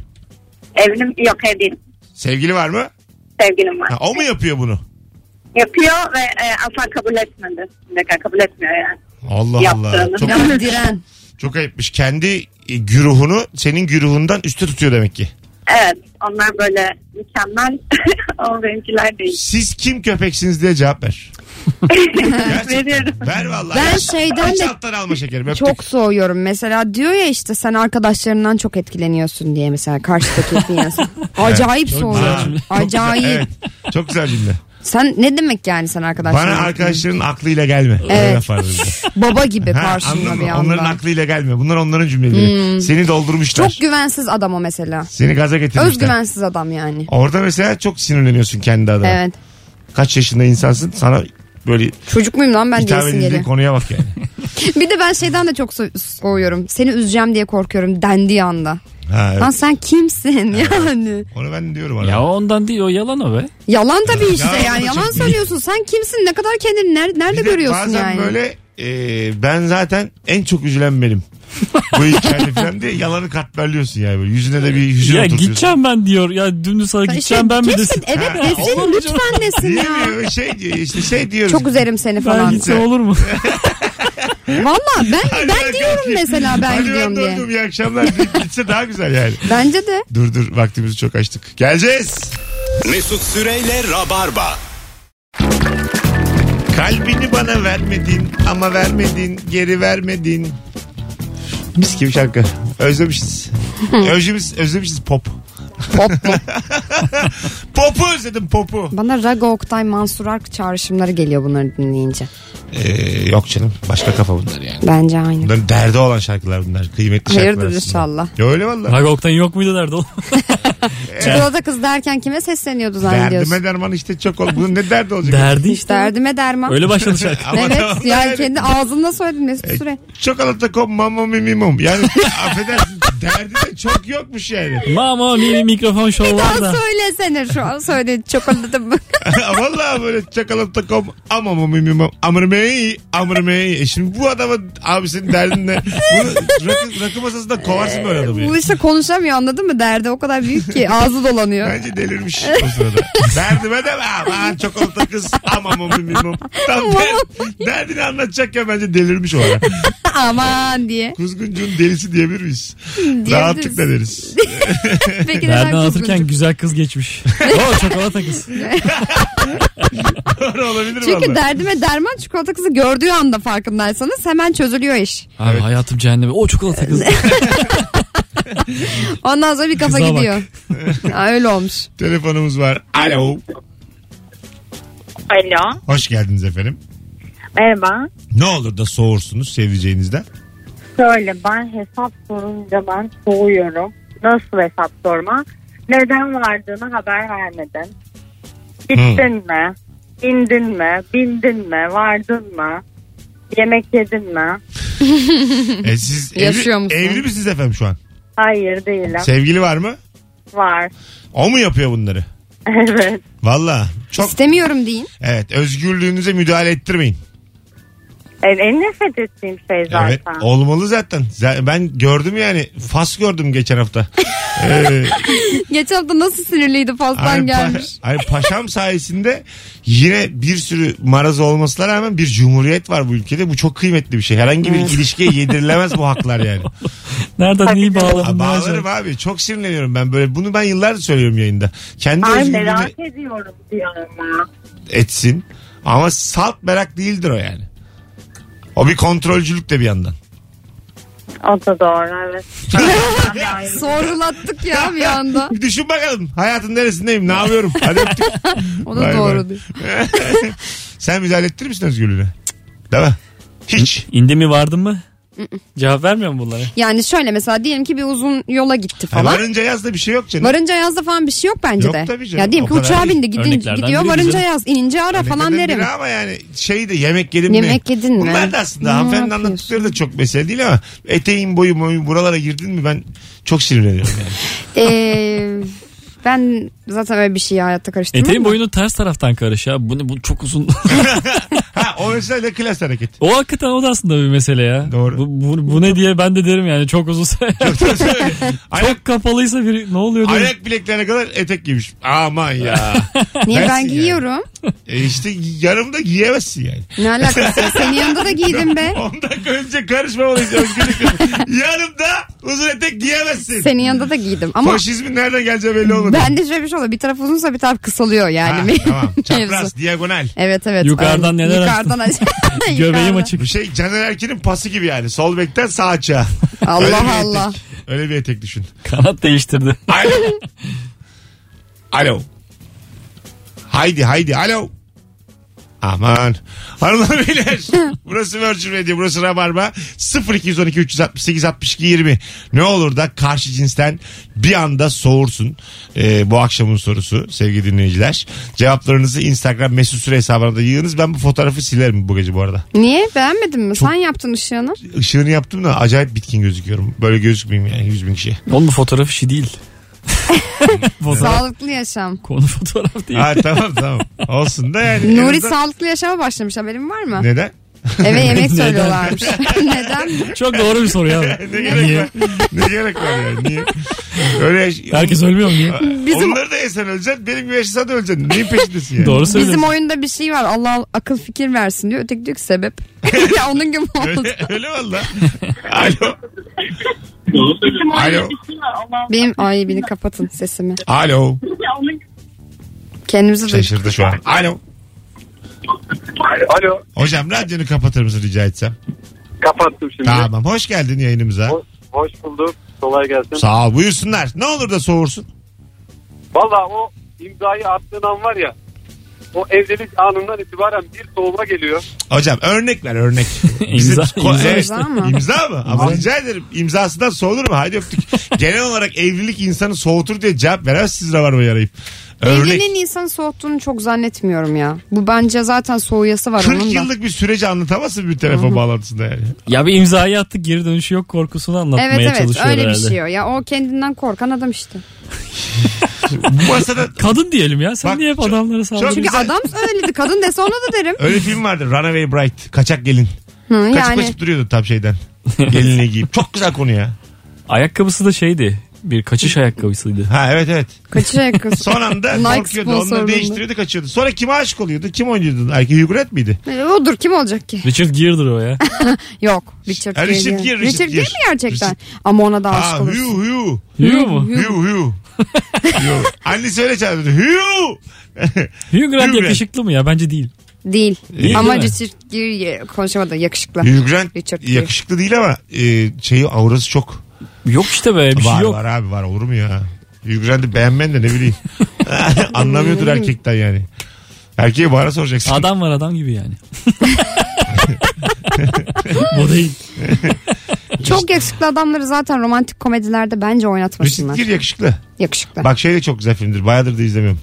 [SPEAKER 8] Evlim yok ev değilim.
[SPEAKER 2] Sevgili var mı?
[SPEAKER 8] Sevgilim var.
[SPEAKER 2] Ha, o mu yapıyor bunu?
[SPEAKER 8] Yapıyor ve e, asla kabul etmedi. Bir dakika kabul etmiyor yani.
[SPEAKER 2] Allah Allah.
[SPEAKER 8] Yaptığını.
[SPEAKER 2] Çok,
[SPEAKER 3] Yani diren.
[SPEAKER 2] çok ayıpmış. Kendi e, güruhunu senin güruhundan üstte tutuyor demek ki.
[SPEAKER 8] Evet onlar böyle mükemmel ama benimkiler değil.
[SPEAKER 2] Siz kim köpeksiniz diye cevap ver.
[SPEAKER 8] Veriyorum.
[SPEAKER 2] Ver vallahi.
[SPEAKER 3] Ben şeyden
[SPEAKER 2] Hiç
[SPEAKER 3] de
[SPEAKER 2] alttan alma şekerim. Öptük.
[SPEAKER 3] çok soğuyorum. Mesela diyor ya işte sen arkadaşlarından çok etkileniyorsun diye mesela karşıdaki insan. Acayip
[SPEAKER 2] Ha,
[SPEAKER 3] soğuyorum.
[SPEAKER 2] çok
[SPEAKER 3] Acayip.
[SPEAKER 2] Güzel, evet. Çok güzel cümle.
[SPEAKER 3] Sen ne demek yani sen arkadaşlarından?
[SPEAKER 2] Bana arkadaşların aklıyla gelme. Öyle
[SPEAKER 3] Evet.
[SPEAKER 2] laf var bizde.
[SPEAKER 3] Baba gibi
[SPEAKER 2] Ha,
[SPEAKER 3] karşında
[SPEAKER 2] anladın
[SPEAKER 3] bir
[SPEAKER 2] mı? Onların
[SPEAKER 3] anda.
[SPEAKER 2] aklıyla gelme. Bunlar onların cümleleri. Seni doldurmuşlar.
[SPEAKER 3] Çok güvensiz adam o mesela.
[SPEAKER 2] Seni gaza getirmişler.
[SPEAKER 3] Özgüvensiz adam yani.
[SPEAKER 2] Orada mesela çok sinirleniyorsun kendi adına.
[SPEAKER 3] Evet.
[SPEAKER 2] Kaç yaşında insansın sana böyle
[SPEAKER 3] Çocuk muyum lan ben
[SPEAKER 2] hitap
[SPEAKER 3] diyesin
[SPEAKER 2] edildiğin
[SPEAKER 3] geliyor.
[SPEAKER 2] konuya bak yani.
[SPEAKER 3] Bir de ben şeyden de çok so- soğuyorum. Seni üzeceğim diye korkuyorum dendiği anda.
[SPEAKER 2] Ha, evet.
[SPEAKER 3] Lan sen kimsin yani?
[SPEAKER 2] Onu ben diyorum
[SPEAKER 4] Ya
[SPEAKER 2] arada.
[SPEAKER 4] ondan değil o yalan o be.
[SPEAKER 3] Yalan tabii işte
[SPEAKER 2] Ya,
[SPEAKER 3] yani.
[SPEAKER 2] bu da
[SPEAKER 3] Yalan
[SPEAKER 2] çok-
[SPEAKER 3] söylüyorsun. Sen kimsin? Ne kadar kendini ner- nerede
[SPEAKER 2] Bir de
[SPEAKER 3] görüyorsun
[SPEAKER 2] bazen
[SPEAKER 3] yani?
[SPEAKER 2] böyle e, ben zaten en çok üzülen benim. Bu hikayede falan diye yalanı katmerliyorsun yani böyle. Yüzüne de bir şey hüzün
[SPEAKER 4] Ya
[SPEAKER 2] oturtuyorsun.
[SPEAKER 4] gideceğim ben diyor. Ya dümdüz sana
[SPEAKER 3] Sen şey,
[SPEAKER 4] gideceğim
[SPEAKER 3] işte
[SPEAKER 4] ben mi
[SPEAKER 3] kimsin?
[SPEAKER 4] desin?
[SPEAKER 3] Evet
[SPEAKER 2] Ha,
[SPEAKER 3] desin
[SPEAKER 4] olur.
[SPEAKER 3] lütfen desin ya.
[SPEAKER 2] Diyemiyor şey diyor işte şey diyoruz.
[SPEAKER 3] Çok üzerim seni
[SPEAKER 4] Ben
[SPEAKER 3] falan.
[SPEAKER 4] gitsem olur mu?
[SPEAKER 3] Valla ben
[SPEAKER 2] Hadi
[SPEAKER 3] ben diyorum
[SPEAKER 2] kalkayım.
[SPEAKER 3] mesela ben
[SPEAKER 2] Hadi
[SPEAKER 3] gidiyorum
[SPEAKER 2] ben
[SPEAKER 3] diye.
[SPEAKER 2] döndüm iyi akşamlar deyip gitse daha güzel yani.
[SPEAKER 3] Bence de.
[SPEAKER 2] Dur dur vaktimizi çok açtık. Geleceğiz.
[SPEAKER 1] Mesut Süreyle Rabarba.
[SPEAKER 2] Kalbini bana vermedin ama vermedin geri vermedin. Mis gibi şarkı. Özlemişiz. özlemişiz, özlemişiz pop.
[SPEAKER 3] Pop mu?
[SPEAKER 2] Popu özledim popu.
[SPEAKER 3] Bana Rago Oktay Mansur Ark çağrışımları geliyor bunları dinleyince.
[SPEAKER 2] Ee, yok canım başka kafa bunlar yani.
[SPEAKER 3] Bence aynı.
[SPEAKER 2] Bunların derdi olan şarkılar bunlar. Kıymetli şarkılar.
[SPEAKER 3] Hayırdır
[SPEAKER 2] aslında.
[SPEAKER 3] inşallah.
[SPEAKER 2] Ya öyle valla.
[SPEAKER 4] Raga Oktay'ın yok muydu derdi oğlum?
[SPEAKER 3] Çikolata kız derken kime sesleniyordu zannediyorsun?
[SPEAKER 2] Derdime derman işte çok ol. Bunun ne derdi olacak?
[SPEAKER 4] Derdi işte.
[SPEAKER 3] Derdime derman.
[SPEAKER 4] Öyle başladı şarkı.
[SPEAKER 2] Ama E, tamam
[SPEAKER 3] evet
[SPEAKER 2] da
[SPEAKER 3] yani kendi ağzında söyledin Mesut Süre.
[SPEAKER 2] Çikolata kom mamam mimimum. Yani affedersin derdi de çok yokmuş yani.
[SPEAKER 4] Mama mini mikrofon şov var da.
[SPEAKER 3] Daha söylesene şu an söyle çikolata.
[SPEAKER 2] Vallahi böyle çakalım takom amamı mimim amırım mey, amr mey. E Şimdi bu adama abi senin derdin ne? Bunu rakı, rakı masasında kovarsın böyle adamı. yani.
[SPEAKER 3] Bu işte konuşamıyor anladın mı? Derdi o kadar büyük ki ağzı dolanıyor.
[SPEAKER 2] Bence delirmiş o sırada. Derdime de ama çikolata kız amam mı bilmem. Tam der, derdini anlatacakken bence delirmiş o ara.
[SPEAKER 3] Aman diye.
[SPEAKER 2] Kuzguncuğun delisi diyebilir miyiz? Rahatlıkla deriz.
[SPEAKER 3] Peki neden
[SPEAKER 4] Nereden anlatırken
[SPEAKER 3] kuzguncuk?
[SPEAKER 4] güzel kız geçmiş. Oo çikolata kız.
[SPEAKER 2] Doğru olabilir
[SPEAKER 3] Çünkü
[SPEAKER 2] vallahi.
[SPEAKER 3] derdime derman çikolata kızı gördüğü anda farkındaysanız hemen çözülüyor iş.
[SPEAKER 4] Abi hayatım cehenneme. O çikolata kız.
[SPEAKER 3] Ondan sonra bir kafa
[SPEAKER 4] Kıza bak.
[SPEAKER 3] gidiyor. Ha, öyle olmuş.
[SPEAKER 2] Telefonumuz var. Alo.
[SPEAKER 8] Alo.
[SPEAKER 2] Hoş geldiniz efendim.
[SPEAKER 8] Merhaba.
[SPEAKER 2] Ne olur da soğursunuz sevdiceğinizden.
[SPEAKER 8] Şöyle ben hesap sorunca ben soğuyorum. Nasıl hesap sorma? Neden vardığını haber vermedin. Gittin mi? İndin mi? Bindin mi? Vardın mı? Yemek yedin mi?
[SPEAKER 2] E siz
[SPEAKER 3] Yaşıyor
[SPEAKER 2] evli,
[SPEAKER 3] musun?
[SPEAKER 2] evli misiniz efendim şu an?
[SPEAKER 8] Hayır değilim.
[SPEAKER 2] Sevgili var mı?
[SPEAKER 8] Var.
[SPEAKER 2] O mu yapıyor bunları?
[SPEAKER 8] Evet.
[SPEAKER 2] Valla çok
[SPEAKER 3] İstemiyorum deyin.
[SPEAKER 2] evet özgürlüğünüze müdahale ettirmeyin.
[SPEAKER 8] En, en nefret ettiğim şey zaten.
[SPEAKER 2] Evet olmalı zaten. Z- Ben gördüm yani fas gördüm geçen hafta. ee,
[SPEAKER 3] Geçen hafta nasıl sinirliydi
[SPEAKER 2] Ay,
[SPEAKER 3] pastan
[SPEAKER 2] pa-
[SPEAKER 3] gelmiş.
[SPEAKER 2] ay, paşam sayesinde yine bir sürü maraz olmasına rağmen bir cumhuriyet var bu ülkede. Bu çok kıymetli bir şey. Herhangi bir ilişkiye yedirilemez bu haklar yani.
[SPEAKER 4] Nereden iyi bağladın?
[SPEAKER 2] Ha,
[SPEAKER 4] ne
[SPEAKER 2] Bağlarım
[SPEAKER 4] acayip.
[SPEAKER 2] abi. Çok sinirleniyorum ben böyle. Bunu ben yıllardır söylüyorum yayında. Kendi
[SPEAKER 8] Ay
[SPEAKER 2] özgürlüğünü
[SPEAKER 8] merak ediyorum diyorum ya.
[SPEAKER 2] etsin. Ama salt merak değildir o yani. O bir kontrolcülük de bir yandan.
[SPEAKER 8] O da doğru evet.
[SPEAKER 3] Sorgulattık ya bir anda.
[SPEAKER 2] Bir düşün bakalım. Hayatın neresindeyim? Ne yapıyorum? Hadi öptük.
[SPEAKER 3] O da
[SPEAKER 2] Vay
[SPEAKER 3] doğru
[SPEAKER 2] vay.
[SPEAKER 3] diyor.
[SPEAKER 2] Sen müdahale ettirir misin özgürlüğüne? Değil mi? Hiç.
[SPEAKER 4] İndi mi vardın mı? Cevap vermiyor mu bunlara?
[SPEAKER 3] Yani şöyle mesela diyelim ki bir uzun yola
[SPEAKER 2] Ha,
[SPEAKER 3] gitti falan.
[SPEAKER 2] varınca yaz da bir şey yok canım.
[SPEAKER 3] Varınca yazda falan bir şey yok bence
[SPEAKER 2] Yok
[SPEAKER 3] de.
[SPEAKER 2] tabii canım,
[SPEAKER 3] Ya diyelim
[SPEAKER 2] o
[SPEAKER 3] ki
[SPEAKER 2] kadar
[SPEAKER 3] uçağa
[SPEAKER 2] değil.
[SPEAKER 3] bindi gidin,
[SPEAKER 4] Örneklerden
[SPEAKER 3] gidiyor
[SPEAKER 4] biri
[SPEAKER 3] varınca
[SPEAKER 4] canım.
[SPEAKER 3] yaz inince ara falan
[SPEAKER 2] Neden
[SPEAKER 3] derim.
[SPEAKER 2] biri Hani Ama yani şey de yemek yedim mi?
[SPEAKER 3] Yemek yedin mi?
[SPEAKER 2] Bunlar da aslında
[SPEAKER 3] Ne
[SPEAKER 2] hanımefendinin
[SPEAKER 3] yapıyorsun?
[SPEAKER 2] anlattıkları da çok mesele değil ama eteğin boyu boyu buralara girdin mi ben çok sinirleniyorum yani.
[SPEAKER 3] Ee, ben zaten öyle bir şeyi hayatta karıştırmam.
[SPEAKER 4] Eteğin
[SPEAKER 3] da.
[SPEAKER 4] boyunu ters taraftan karış ya. Bu, ne- bu çok uzun.
[SPEAKER 2] ha o mesela de klas hareket.
[SPEAKER 4] o hakikaten o da aslında bir mesele ya.
[SPEAKER 2] Doğru.
[SPEAKER 4] Bu, bu, bu ne diye ben de derim yani çok uzun.
[SPEAKER 2] ayak,
[SPEAKER 4] çok kapalıysa bir ne oluyor diyorum.
[SPEAKER 2] ayak bileklerine kadar etek giymiş. Aman ya.
[SPEAKER 3] Niye
[SPEAKER 2] Dersin
[SPEAKER 3] ben
[SPEAKER 2] yani.
[SPEAKER 3] giyiyorum?
[SPEAKER 2] e işte yarım da giyemezsin yani.
[SPEAKER 3] Ne alakası? var? Senin yanında da giydim be.
[SPEAKER 2] 10 dakika önce karışmamalıyız özgürlük. Yarımda uzun etek giyemezsin.
[SPEAKER 3] Senin yanında da giydim. Ama
[SPEAKER 2] Faşizmin nereden geleceği belli olmadı.
[SPEAKER 3] ben de şöyle bir şey oluyor. Bir taraf uzunsa bir taraf kısalıyor yani.
[SPEAKER 2] Ha,
[SPEAKER 3] bir
[SPEAKER 2] tamam.
[SPEAKER 3] mevzu.
[SPEAKER 2] Çapraz, diagonal.
[SPEAKER 3] Evet evet.
[SPEAKER 4] Yukarıdan
[SPEAKER 3] Aynen.
[SPEAKER 4] neler
[SPEAKER 3] Yukarıdan
[SPEAKER 4] Göbeğim
[SPEAKER 3] Yukarıdan.
[SPEAKER 4] açık.
[SPEAKER 2] Bir şey Caner Erkin'in pası gibi yani. Sol bekten sağ açığa. Öyle bir
[SPEAKER 3] Allah
[SPEAKER 2] etek.
[SPEAKER 3] Allah.
[SPEAKER 2] Öyle bir etek düşün.
[SPEAKER 4] Kanat değiştirdi.
[SPEAKER 2] Alo. Alo. Haydi haydi alo. Aman. Hanımlar beyler. burası Virgin Radio. Burası Rabarba. 0212 368 62 20. Ne olur da karşı cinsten bir anda soğursun. Ee, bu akşamın sorusu sevgili dinleyiciler. Cevaplarınızı Instagram mesut süre hesabına da yığınız. Ben bu fotoğrafı silerim bu gece bu arada.
[SPEAKER 3] Niye? Beğenmedin mi? Sen yaptın ışığını.
[SPEAKER 2] Işığını yaptım da acayip bitkin gözüküyorum. Böyle gözükmeyeyim yani 100 bin kişiye.
[SPEAKER 4] Oğlum bu fotoğraf işi değil. fotoğraf,
[SPEAKER 3] Sağlıklı yaşam.
[SPEAKER 4] konu fotoğraf değil.
[SPEAKER 2] Ha, tamam tamam. Olsun da yani. En
[SPEAKER 3] Nuri
[SPEAKER 2] azından-
[SPEAKER 3] sağlıklı yaşama başlamış haberin var mı?
[SPEAKER 2] Neden?
[SPEAKER 3] Eve yemek
[SPEAKER 4] Neden?
[SPEAKER 3] söylüyorlarmış. Neden?
[SPEAKER 4] Çok doğru bir soru ya.
[SPEAKER 2] ne gerek var? ne gerek var yani? Niye? Öyle
[SPEAKER 4] Herkes ölmüyor mu diye.
[SPEAKER 3] Bizim-
[SPEAKER 2] Onları da yesen öleceksin. Benim gibi yaşasan da öleceksin. Neyin peşindesin yani?
[SPEAKER 4] Doğru söylüyorsun.
[SPEAKER 3] Bizim oyunda bir şey var. Allah akıl fikir versin diyor. Öteki diyor ki sebep. ya onun gibi oldu.
[SPEAKER 2] Öyle, öyle valla. Alo. Alo.
[SPEAKER 3] Benim ay beni kapatın sesimi.
[SPEAKER 2] Alo. Şey,
[SPEAKER 3] Kendimizi duyduk.
[SPEAKER 2] Şaşırdı şu an. Alo.
[SPEAKER 9] Alo.
[SPEAKER 2] Hocam radyonu kapatır mısın rica etsem?
[SPEAKER 9] Kapattım şimdi.
[SPEAKER 2] Tamam. Hoş geldin yayınımıza.
[SPEAKER 9] Hoş, hoş bulduk. Kolay gelsin.
[SPEAKER 2] Sağ ol. Buyursunlar. Ne olur da soğursun.
[SPEAKER 9] Valla o imzayı attığın an var ya. O evlilik anından itibaren bir soğuma geliyor.
[SPEAKER 2] Hocam örnek ver örnek.
[SPEAKER 4] İmza- imza
[SPEAKER 2] Evet.
[SPEAKER 3] işte. mı?
[SPEAKER 2] İmza mı? Ama rica ederim imzasından soğulur mu? Hadi öptük. Genel olarak evlilik insanı soğutur diye cevap veremezsiniz var mı yarayıp? Örnek.
[SPEAKER 3] Evliliğin insanı soğuttuğunu çok zannetmiyorum ya. Bu bence zaten soğuyası var
[SPEAKER 2] 40
[SPEAKER 3] onun da.
[SPEAKER 2] yıllık bir süreci anlatamazsın bir telefon bağlantısında yani.
[SPEAKER 4] Ya bir imzayı attık geri dönüşü yok korkusunu anlatmaya
[SPEAKER 3] Evet şey evet
[SPEAKER 4] çalışıyor
[SPEAKER 3] öyle
[SPEAKER 4] herhalde.
[SPEAKER 3] bir şey o. Ya o kendinden korkan adam işte.
[SPEAKER 2] Bu masada
[SPEAKER 4] Kadın diyelim ya. Sen
[SPEAKER 2] Bak,
[SPEAKER 4] niye hep
[SPEAKER 2] çok-
[SPEAKER 4] adamlara sallıyorsun?
[SPEAKER 3] Çünkü
[SPEAKER 2] Güzel.
[SPEAKER 3] adam söyledi kadın dese ona da derim.
[SPEAKER 2] öyle film vardı. Runaway Bright. Kaçak gelin.
[SPEAKER 3] Hı,
[SPEAKER 2] Kaçıp
[SPEAKER 3] yani
[SPEAKER 2] kaçıp duruyordu tam şeyden. Gelinle giyip. Çok güzel konu ya.
[SPEAKER 4] Ayakkabısı da şeydi. Bir kaçış ayakkabısıydı.
[SPEAKER 2] Ha evet evet.
[SPEAKER 3] kaçış ayakkabısı.
[SPEAKER 2] Son anda
[SPEAKER 3] Nike
[SPEAKER 2] korkuyordu. Onları
[SPEAKER 3] sponsorluğunda.
[SPEAKER 2] değiştiriyordu kaçıyordu. Sonra kime aşık oluyordu? Kim oynuyordu? Erkek Hugh Grant miydi?
[SPEAKER 3] E, Odur kim olacak ki?
[SPEAKER 4] Richard Gere'dir o ya.
[SPEAKER 3] Yok. Richard
[SPEAKER 2] Ha,
[SPEAKER 3] Gere.
[SPEAKER 2] Richard Gere,
[SPEAKER 3] Richard,
[SPEAKER 2] Richard
[SPEAKER 3] Gere mi
[SPEAKER 2] Gere.
[SPEAKER 3] gerçekten?
[SPEAKER 2] Richard-
[SPEAKER 3] Ama ona da aşık
[SPEAKER 2] Aa Hugh
[SPEAKER 3] olursun.
[SPEAKER 2] Hugh.
[SPEAKER 4] Yürü mu?
[SPEAKER 2] Hugh Hugh. Hugh. Annesi öyle çağırdı. Hugh.
[SPEAKER 4] Hugh Grant
[SPEAKER 2] Hugh Grant.
[SPEAKER 4] yakışıklı mı ya? Bence değil.
[SPEAKER 3] Değil.
[SPEAKER 4] Değil
[SPEAKER 3] Ama
[SPEAKER 4] mi?
[SPEAKER 3] Richard Gere e, konuşamadı yakışıklı.
[SPEAKER 2] Hugh Grant
[SPEAKER 3] Richard Gere.
[SPEAKER 2] yakışıklı değil ama e, şeyi aurası çok.
[SPEAKER 4] Yok işte be bir
[SPEAKER 2] var
[SPEAKER 4] şey yok.
[SPEAKER 2] var abi var olur mu ya? Hugh Grant'ı beğenmen de ne bileyim. Anlamıyordur erkekten yani. Erkeğe bana soracaksın.
[SPEAKER 4] Adam var adam gibi yani. Bu değil.
[SPEAKER 3] Çok yakışıklı adamları zaten romantik komedilerde bence
[SPEAKER 2] Richard
[SPEAKER 3] oynatmasınlar.
[SPEAKER 2] Gere yakışıklı.
[SPEAKER 3] Yakışıklı.
[SPEAKER 2] Bak şey de çok güzel filmdir. Bayağıdır da izlemiyorum.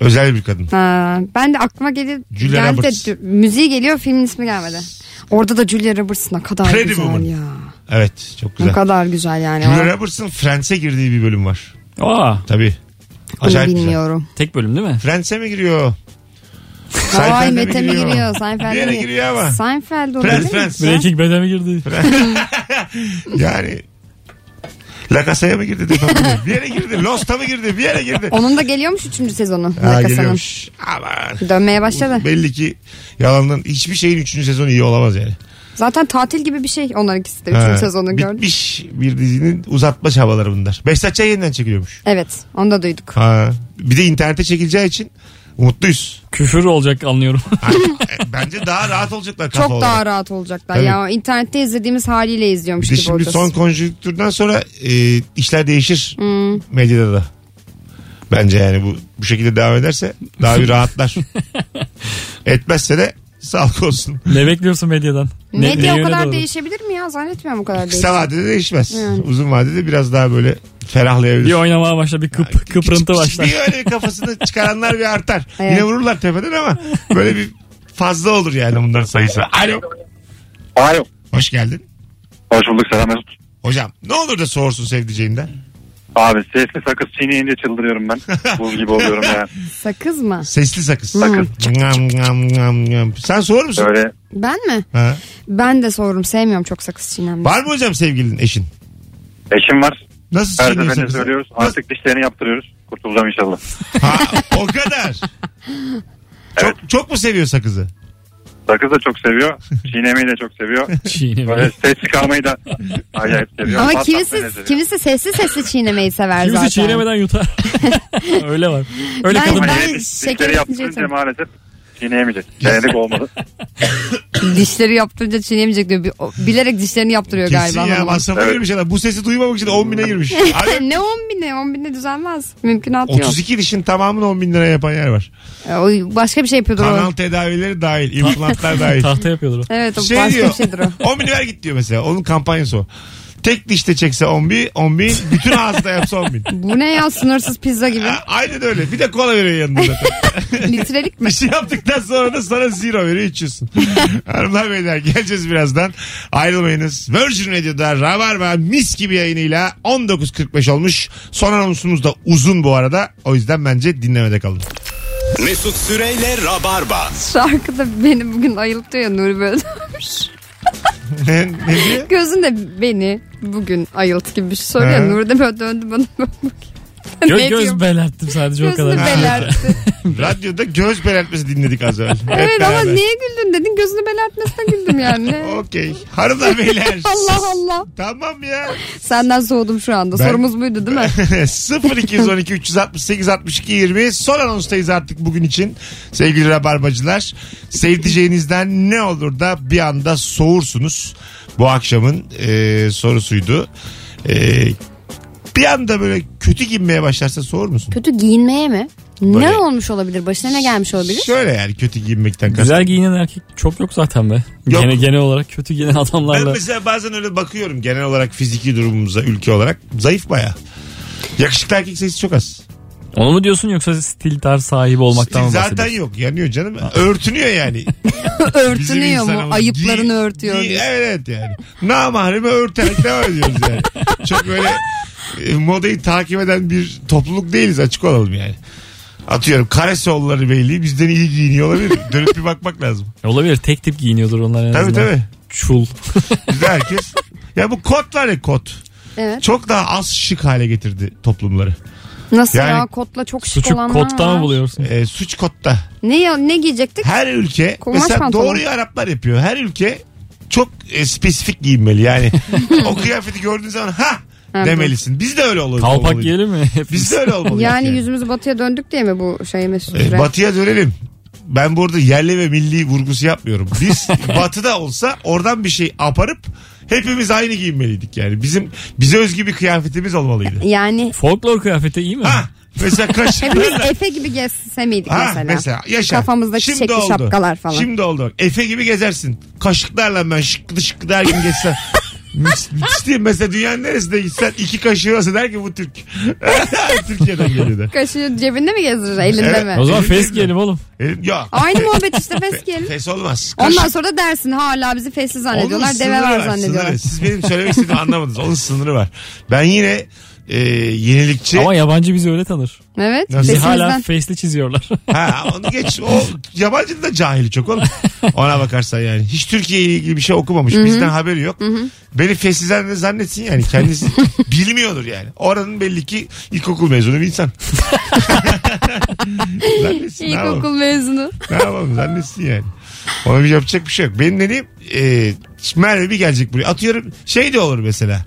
[SPEAKER 2] Özel bir kadın.
[SPEAKER 3] Ha, Ee, ben de aklıma geldi,
[SPEAKER 2] Julia
[SPEAKER 3] geldi de
[SPEAKER 2] Roberts.
[SPEAKER 3] dü- müziği geliyor filmin ismi gelmedi. Orada da Julia Roberts ne kadar
[SPEAKER 2] Pretty
[SPEAKER 3] güzel
[SPEAKER 2] Woman.
[SPEAKER 3] ya.
[SPEAKER 2] Evet çok
[SPEAKER 3] Ne
[SPEAKER 2] güzel.
[SPEAKER 3] kadar güzel yani.
[SPEAKER 2] Julia
[SPEAKER 3] Onu
[SPEAKER 2] Roberts'ın Friends'e girdiği bir bölüm var.
[SPEAKER 4] Aa,
[SPEAKER 2] Tabii. Acayip güzel.
[SPEAKER 3] bilmiyorum.
[SPEAKER 4] tek bölüm değil mi?
[SPEAKER 2] Friends'e mi giriyor?
[SPEAKER 3] Hawaii
[SPEAKER 2] Seinfeld'e
[SPEAKER 3] Mete mi giriyor? Seinfeld'e
[SPEAKER 2] Bir yere
[SPEAKER 3] mi
[SPEAKER 2] giriyor ama.
[SPEAKER 3] Seinfeld
[SPEAKER 2] Friends,
[SPEAKER 3] olabilir mi?
[SPEAKER 2] Friends.
[SPEAKER 4] Breaking Bad'e mi girdi?
[SPEAKER 2] Yani La Casa'ya mı girdi? defa bilmiyorum. bir yere girdi. Lost'a mı girdi? Bir yere girdi.
[SPEAKER 3] Onun da geliyormuş 3. sezonu.
[SPEAKER 2] Ha,
[SPEAKER 3] Nakasa'nın.
[SPEAKER 2] geliyormuş. Aman.
[SPEAKER 3] Dönmeye başladı.
[SPEAKER 2] Belli ki yalandan hiçbir şeyin 3. sezonu iyi olamaz yani.
[SPEAKER 3] Zaten tatil gibi bir şey onların ikisi de.
[SPEAKER 2] Ha,
[SPEAKER 3] Üçüncü sezonu gördük.
[SPEAKER 2] Bitmiş bir dizinin uzatma çabaları bunlar. Beşiktaş'a yeniden çekiliyormuş.
[SPEAKER 3] Evet onu da duyduk.
[SPEAKER 2] Ha. Bir de internete çekileceği için mutluyuz.
[SPEAKER 4] Küfür olacak anlıyorum.
[SPEAKER 2] Ha, e, Bence daha rahat olacaklar kafa
[SPEAKER 3] Çok
[SPEAKER 2] olarak.
[SPEAKER 3] daha rahat olacaklar.
[SPEAKER 2] Tabii.
[SPEAKER 3] Ya internette izlediğimiz haliyle izliyormuş
[SPEAKER 2] Bir de
[SPEAKER 3] gibi
[SPEAKER 2] şimdi
[SPEAKER 3] olacağız.
[SPEAKER 2] son konjüktürden sonra e, işler değişir medyada da. Bence yani bu bu şekilde devam ederse daha bir rahatlar. Etmezse de sağlık olsun.
[SPEAKER 4] ne bekliyorsun medyadan? Ne-
[SPEAKER 3] Medya
[SPEAKER 4] neye
[SPEAKER 3] o kadar
[SPEAKER 4] doğru?
[SPEAKER 3] değişebilir mi ya? Zannetmiyorum o kadar değişir.
[SPEAKER 2] Kısa vadede değişmez.
[SPEAKER 3] Yani.
[SPEAKER 2] Uzun vadede biraz daha böyle
[SPEAKER 4] Bir
[SPEAKER 2] ferahlayabilir.
[SPEAKER 4] oynamaya başla bir kıp, kıprıntı başlar.
[SPEAKER 2] Bir şey. öyle bir kafasını çıkaranlar bir artar.
[SPEAKER 3] Evet.
[SPEAKER 2] Yine vururlar tepeden ama böyle bir fazla olur yani bunların sayısı. Alo.
[SPEAKER 6] Alo.
[SPEAKER 2] Hoş geldin.
[SPEAKER 6] Hoş bulduk selam Mesut.
[SPEAKER 2] Hocam ne olur da soğursun sevdiceğinden.
[SPEAKER 6] Abi sesli sakız çiğneyince çıldırıyorum ben. Buz gibi oluyorum ya.
[SPEAKER 3] Sakız mı?
[SPEAKER 2] Sesli sakız. Hmm.
[SPEAKER 6] Sakız.
[SPEAKER 2] Ngam, ngam, ngam, ngam. Sen soğur musun?
[SPEAKER 6] Böyle
[SPEAKER 3] Ben mi?
[SPEAKER 2] Ha.
[SPEAKER 3] Ben de sorurum. Sevmiyorum çok sakız çiğnenmeyi.
[SPEAKER 2] Var mı hocam sevgilin eşin?
[SPEAKER 6] eşim var.
[SPEAKER 2] Nasıl
[SPEAKER 6] Her
[SPEAKER 2] çiğniyor
[SPEAKER 6] seferinde
[SPEAKER 2] sakızı?
[SPEAKER 6] söylüyoruz.
[SPEAKER 2] Nasıl-
[SPEAKER 6] Artık dişlerini yaptırıyoruz. Kurtulacağım inşallah.
[SPEAKER 2] Ha, o kadar. Çok, çok mu seviyor sakızı?
[SPEAKER 6] Sakız da çok seviyor. Çiğnemeyi de çok seviyor. Böyle
[SPEAKER 4] Çiğneme.
[SPEAKER 6] ses çıkarmayı da acayip seviyor.
[SPEAKER 3] Ama
[SPEAKER 6] Bas
[SPEAKER 3] kimisi,
[SPEAKER 6] tatmini seviyor.
[SPEAKER 3] kimisi sesli sesli çiğnemeyi sever
[SPEAKER 4] Kimisi
[SPEAKER 3] zaten.
[SPEAKER 4] çiğnemeden yutar. Öyle var. Öyle
[SPEAKER 3] Ben-
[SPEAKER 4] kadın.
[SPEAKER 6] Hani
[SPEAKER 3] ben-
[SPEAKER 6] dişleri
[SPEAKER 3] şeker
[SPEAKER 6] yaptırınca
[SPEAKER 3] isteyecektim.
[SPEAKER 6] maalesef çiğneyemeyecek. Denedik olmadı.
[SPEAKER 3] Dişleri yaptırınca çiğnemeyecek diyor. Bi- o- Bilerek dişlerini yaptırıyor
[SPEAKER 2] Kesin
[SPEAKER 3] galiba.
[SPEAKER 2] ya
[SPEAKER 3] hanımın.
[SPEAKER 2] masrafa
[SPEAKER 6] Evet.
[SPEAKER 2] girmiş adam. Bu sesi duymamak için 10 bine girmiş. Abi,
[SPEAKER 3] ne 10 bine? 10 bine düzelmez. Mümkünat yok.
[SPEAKER 2] 32 dişin tamamını 10 bin liraya yapan yer var.
[SPEAKER 3] E, O başka bir şey yapıyordur
[SPEAKER 2] Kanal
[SPEAKER 3] o.
[SPEAKER 2] tedavileri dahil, implantlar dahil.
[SPEAKER 4] Tahta yapıyordur o.
[SPEAKER 3] Evet o
[SPEAKER 2] şey
[SPEAKER 3] başka
[SPEAKER 2] diyor,
[SPEAKER 3] bir şeydir o.
[SPEAKER 2] 10 bin ver git diyor mesela. Onun kampanyası o. Tek dişte çekse 10 bin, 10 bin. Bütün ağızda yapsa 10 bin.
[SPEAKER 3] Bu ne ya sınırsız pizza gibi.
[SPEAKER 2] Ha, Aynen öyle. Bir de kola veriyor yanında zaten.
[SPEAKER 3] Litrelik mi?
[SPEAKER 2] Bir şey yaptıktan sonra da sana zero veriyor içiyorsun. Hanımlar beyler geleceğiz birazdan. Ayrılmayınız. Virgin Radio'da Rabarba mis gibi yayınıyla 19.45 olmuş. Son anonsumuz da uzun bu arada. O yüzden bence dinlemede kalın.
[SPEAKER 1] Mesut Süreyle Rabarba.
[SPEAKER 3] Şarkı da beni bugün ayılttı ya Nuri böyle dönmüş.
[SPEAKER 2] ne, ne diyor?
[SPEAKER 3] Gözün de beni bugün ayılt gibi bir şey söylüyor.
[SPEAKER 2] He.
[SPEAKER 3] Nuri de böyle döndü bana. böyle.
[SPEAKER 4] Gö-
[SPEAKER 3] Ne
[SPEAKER 4] göz
[SPEAKER 3] diyor?
[SPEAKER 4] belerttim sadece o
[SPEAKER 3] Gözünü
[SPEAKER 4] kadar.
[SPEAKER 3] belertti.
[SPEAKER 2] Radyoda göz belertmesi dinledik az evvel. Hep
[SPEAKER 3] evet ama
[SPEAKER 2] beraber.
[SPEAKER 3] niye güldün dedin gözünü belertmesine güldüm yani.
[SPEAKER 2] Okey. Hanımlar beyler.
[SPEAKER 3] Allah Allah.
[SPEAKER 2] Tamam ya.
[SPEAKER 3] Senden soğudum şu anda.
[SPEAKER 2] şey. Ben-
[SPEAKER 3] Sorumuz buydu değil mi?
[SPEAKER 2] 0212 368 62 20 son anonstayız artık bugün için sevgili rabarbacılar sevdiceğinizden ne olur da bir anda soğursunuz bu akşamın e, sorusuydu E, bir anda böyle kötü giyinmeye başlarsa soğur musun?
[SPEAKER 3] Kötü giyinmeye mi?
[SPEAKER 2] Böyle-
[SPEAKER 3] Ne olmuş olabilir? Başına ne gelmiş olabilir?
[SPEAKER 2] Şöyle yani kötü giyinmekten kastım.
[SPEAKER 4] Güzel giyinen erkek çok yok zaten be.
[SPEAKER 2] Yok.
[SPEAKER 4] Gene genel olarak kötü giyinen
[SPEAKER 2] Ben
[SPEAKER 4] adamlarla.
[SPEAKER 2] mesela bazen öyle bakıyorum genel olarak fiziki durumumuza ülke olarak zayıf baya. Yakışıklı erkek sayısı çok az.
[SPEAKER 4] Onu mu diyorsun yoksa stil tarz sahibi olmaktan mı
[SPEAKER 2] Zaten
[SPEAKER 4] bahsediyorsun?
[SPEAKER 2] yok yanıyor canım. Örtünüyor yani. Bizim
[SPEAKER 3] Örtünüyor mu?
[SPEAKER 2] insanımız
[SPEAKER 3] Ayıplarını
[SPEAKER 2] giy-
[SPEAKER 3] örtüyor.
[SPEAKER 2] giy-
[SPEAKER 3] diyor.
[SPEAKER 2] Evet yani. Namahremi örterek devam ediyoruz yani. Çok böyle e, modayı takip eden bir topluluk değiliz açık olalım yani. Atıyorum Karesoğulları Beyliği bizden iyi giyiniyor olabilir. Dönüp bir bakmak lazım.
[SPEAKER 4] E, Olabilir tek tip giyiniyordur onlar en
[SPEAKER 2] Tabii
[SPEAKER 4] azından.
[SPEAKER 2] tabii.
[SPEAKER 4] Çul.
[SPEAKER 2] Bizde herkes. Ya bu kot var ya kot.
[SPEAKER 3] Evet.
[SPEAKER 2] Çok daha az şık hale getirdi toplumları.
[SPEAKER 3] Nasıl
[SPEAKER 2] Yani-
[SPEAKER 3] ya kotla çok şık
[SPEAKER 4] Suçu
[SPEAKER 3] olanlar
[SPEAKER 4] kotta
[SPEAKER 3] var.
[SPEAKER 4] mı buluyorsun?
[SPEAKER 2] E, suç kotta.
[SPEAKER 3] Ne, ya, ne giyecektik?
[SPEAKER 2] Her ülke
[SPEAKER 3] Kumaş
[SPEAKER 2] mesela
[SPEAKER 3] pantolon.
[SPEAKER 2] doğruyu Araplar yapıyor. Her ülke çok e, spesifik giyinmeli yani. o kıyafeti gördüğün zaman ha
[SPEAKER 3] Evet.
[SPEAKER 2] demelisin. Biz de öyle oluruz.
[SPEAKER 4] Kalpak
[SPEAKER 2] olmalıyız.
[SPEAKER 4] giyelim mi?
[SPEAKER 2] Biz de öyle olmalıyız.
[SPEAKER 3] Yani yüzümüzü batıya döndük diye mi bu şey Mesut
[SPEAKER 2] E,
[SPEAKER 3] Süre?
[SPEAKER 2] batıya dönelim. Ben burada yerli ve milli vurgusu yapmıyorum. Biz batıda olsa oradan bir şey aparıp hepimiz aynı giyinmeliydik yani. Bizim bize özgü bir kıyafetimiz olmalıydı.
[SPEAKER 3] yani
[SPEAKER 4] Folklor kıyafeti iyi mi?
[SPEAKER 2] ha mesela
[SPEAKER 3] hepimiz
[SPEAKER 2] kaşıklarla.
[SPEAKER 3] Efe gibi gezse miydik
[SPEAKER 2] Ha
[SPEAKER 3] mesela?
[SPEAKER 2] mesela, yaşa.
[SPEAKER 3] Kafamızda
[SPEAKER 2] Şimdi
[SPEAKER 3] çiçekli
[SPEAKER 2] oldu.
[SPEAKER 3] şapkalar falan.
[SPEAKER 2] Şimdi oldu. bak. Efe gibi gezersin. Kaşıklarla ben şıkkıdı şıkkıdı her gün geçsem. Mis- mis diye mesela dünyanın neresinde gitsen iki kaşığı olsa der ki bu Türk. Türkiye'den geliyor der.
[SPEAKER 3] Kaşığı cebinde mi gezdirir elinde
[SPEAKER 2] Evet.
[SPEAKER 4] O
[SPEAKER 3] mi?
[SPEAKER 4] zaman
[SPEAKER 2] Elimizde
[SPEAKER 4] fes
[SPEAKER 2] mi?
[SPEAKER 4] giyelim oğlum.
[SPEAKER 2] Elim- Ya.
[SPEAKER 3] Aynı muhabbet işte fes giyelim.
[SPEAKER 2] E, Fes olmaz. Kaşık-
[SPEAKER 3] Ondan sonra da dersin hala bizi fesli zannediyorlar.
[SPEAKER 2] Onun
[SPEAKER 3] deve
[SPEAKER 2] sınırı
[SPEAKER 3] var
[SPEAKER 2] sınırı.
[SPEAKER 3] zannediyorlar.
[SPEAKER 2] Siz benim söylemek istediğimi anlamadınız. Onun sınırı var. Ben yine e, yenilikçi.
[SPEAKER 4] Ama yabancı bizi öyle tanır.
[SPEAKER 3] Evet.
[SPEAKER 2] Nasıl?
[SPEAKER 4] Bizi
[SPEAKER 3] Fesimizden.
[SPEAKER 4] hala face'li çiziyorlar.
[SPEAKER 2] Ha, onu geç. O yabancı da cahil çok oğlum. Ona bakarsan yani. Hiç Türkiye ile ilgili bir şey okumamış. Bizden haberi yok. Beni fesizden de zannetsin yani. Kendisi bilmiyordur yani. Oranın belli ki ilkokul mezunu bir insan. zannetsin. ne yapalım?
[SPEAKER 3] İlkokul mezunu.
[SPEAKER 2] Ne yapalım zannetsin yani. Ona bir yapacak bir şey yok. Benim dediğim e, Merve bir gelecek buraya. Atıyorum şey de olur mesela.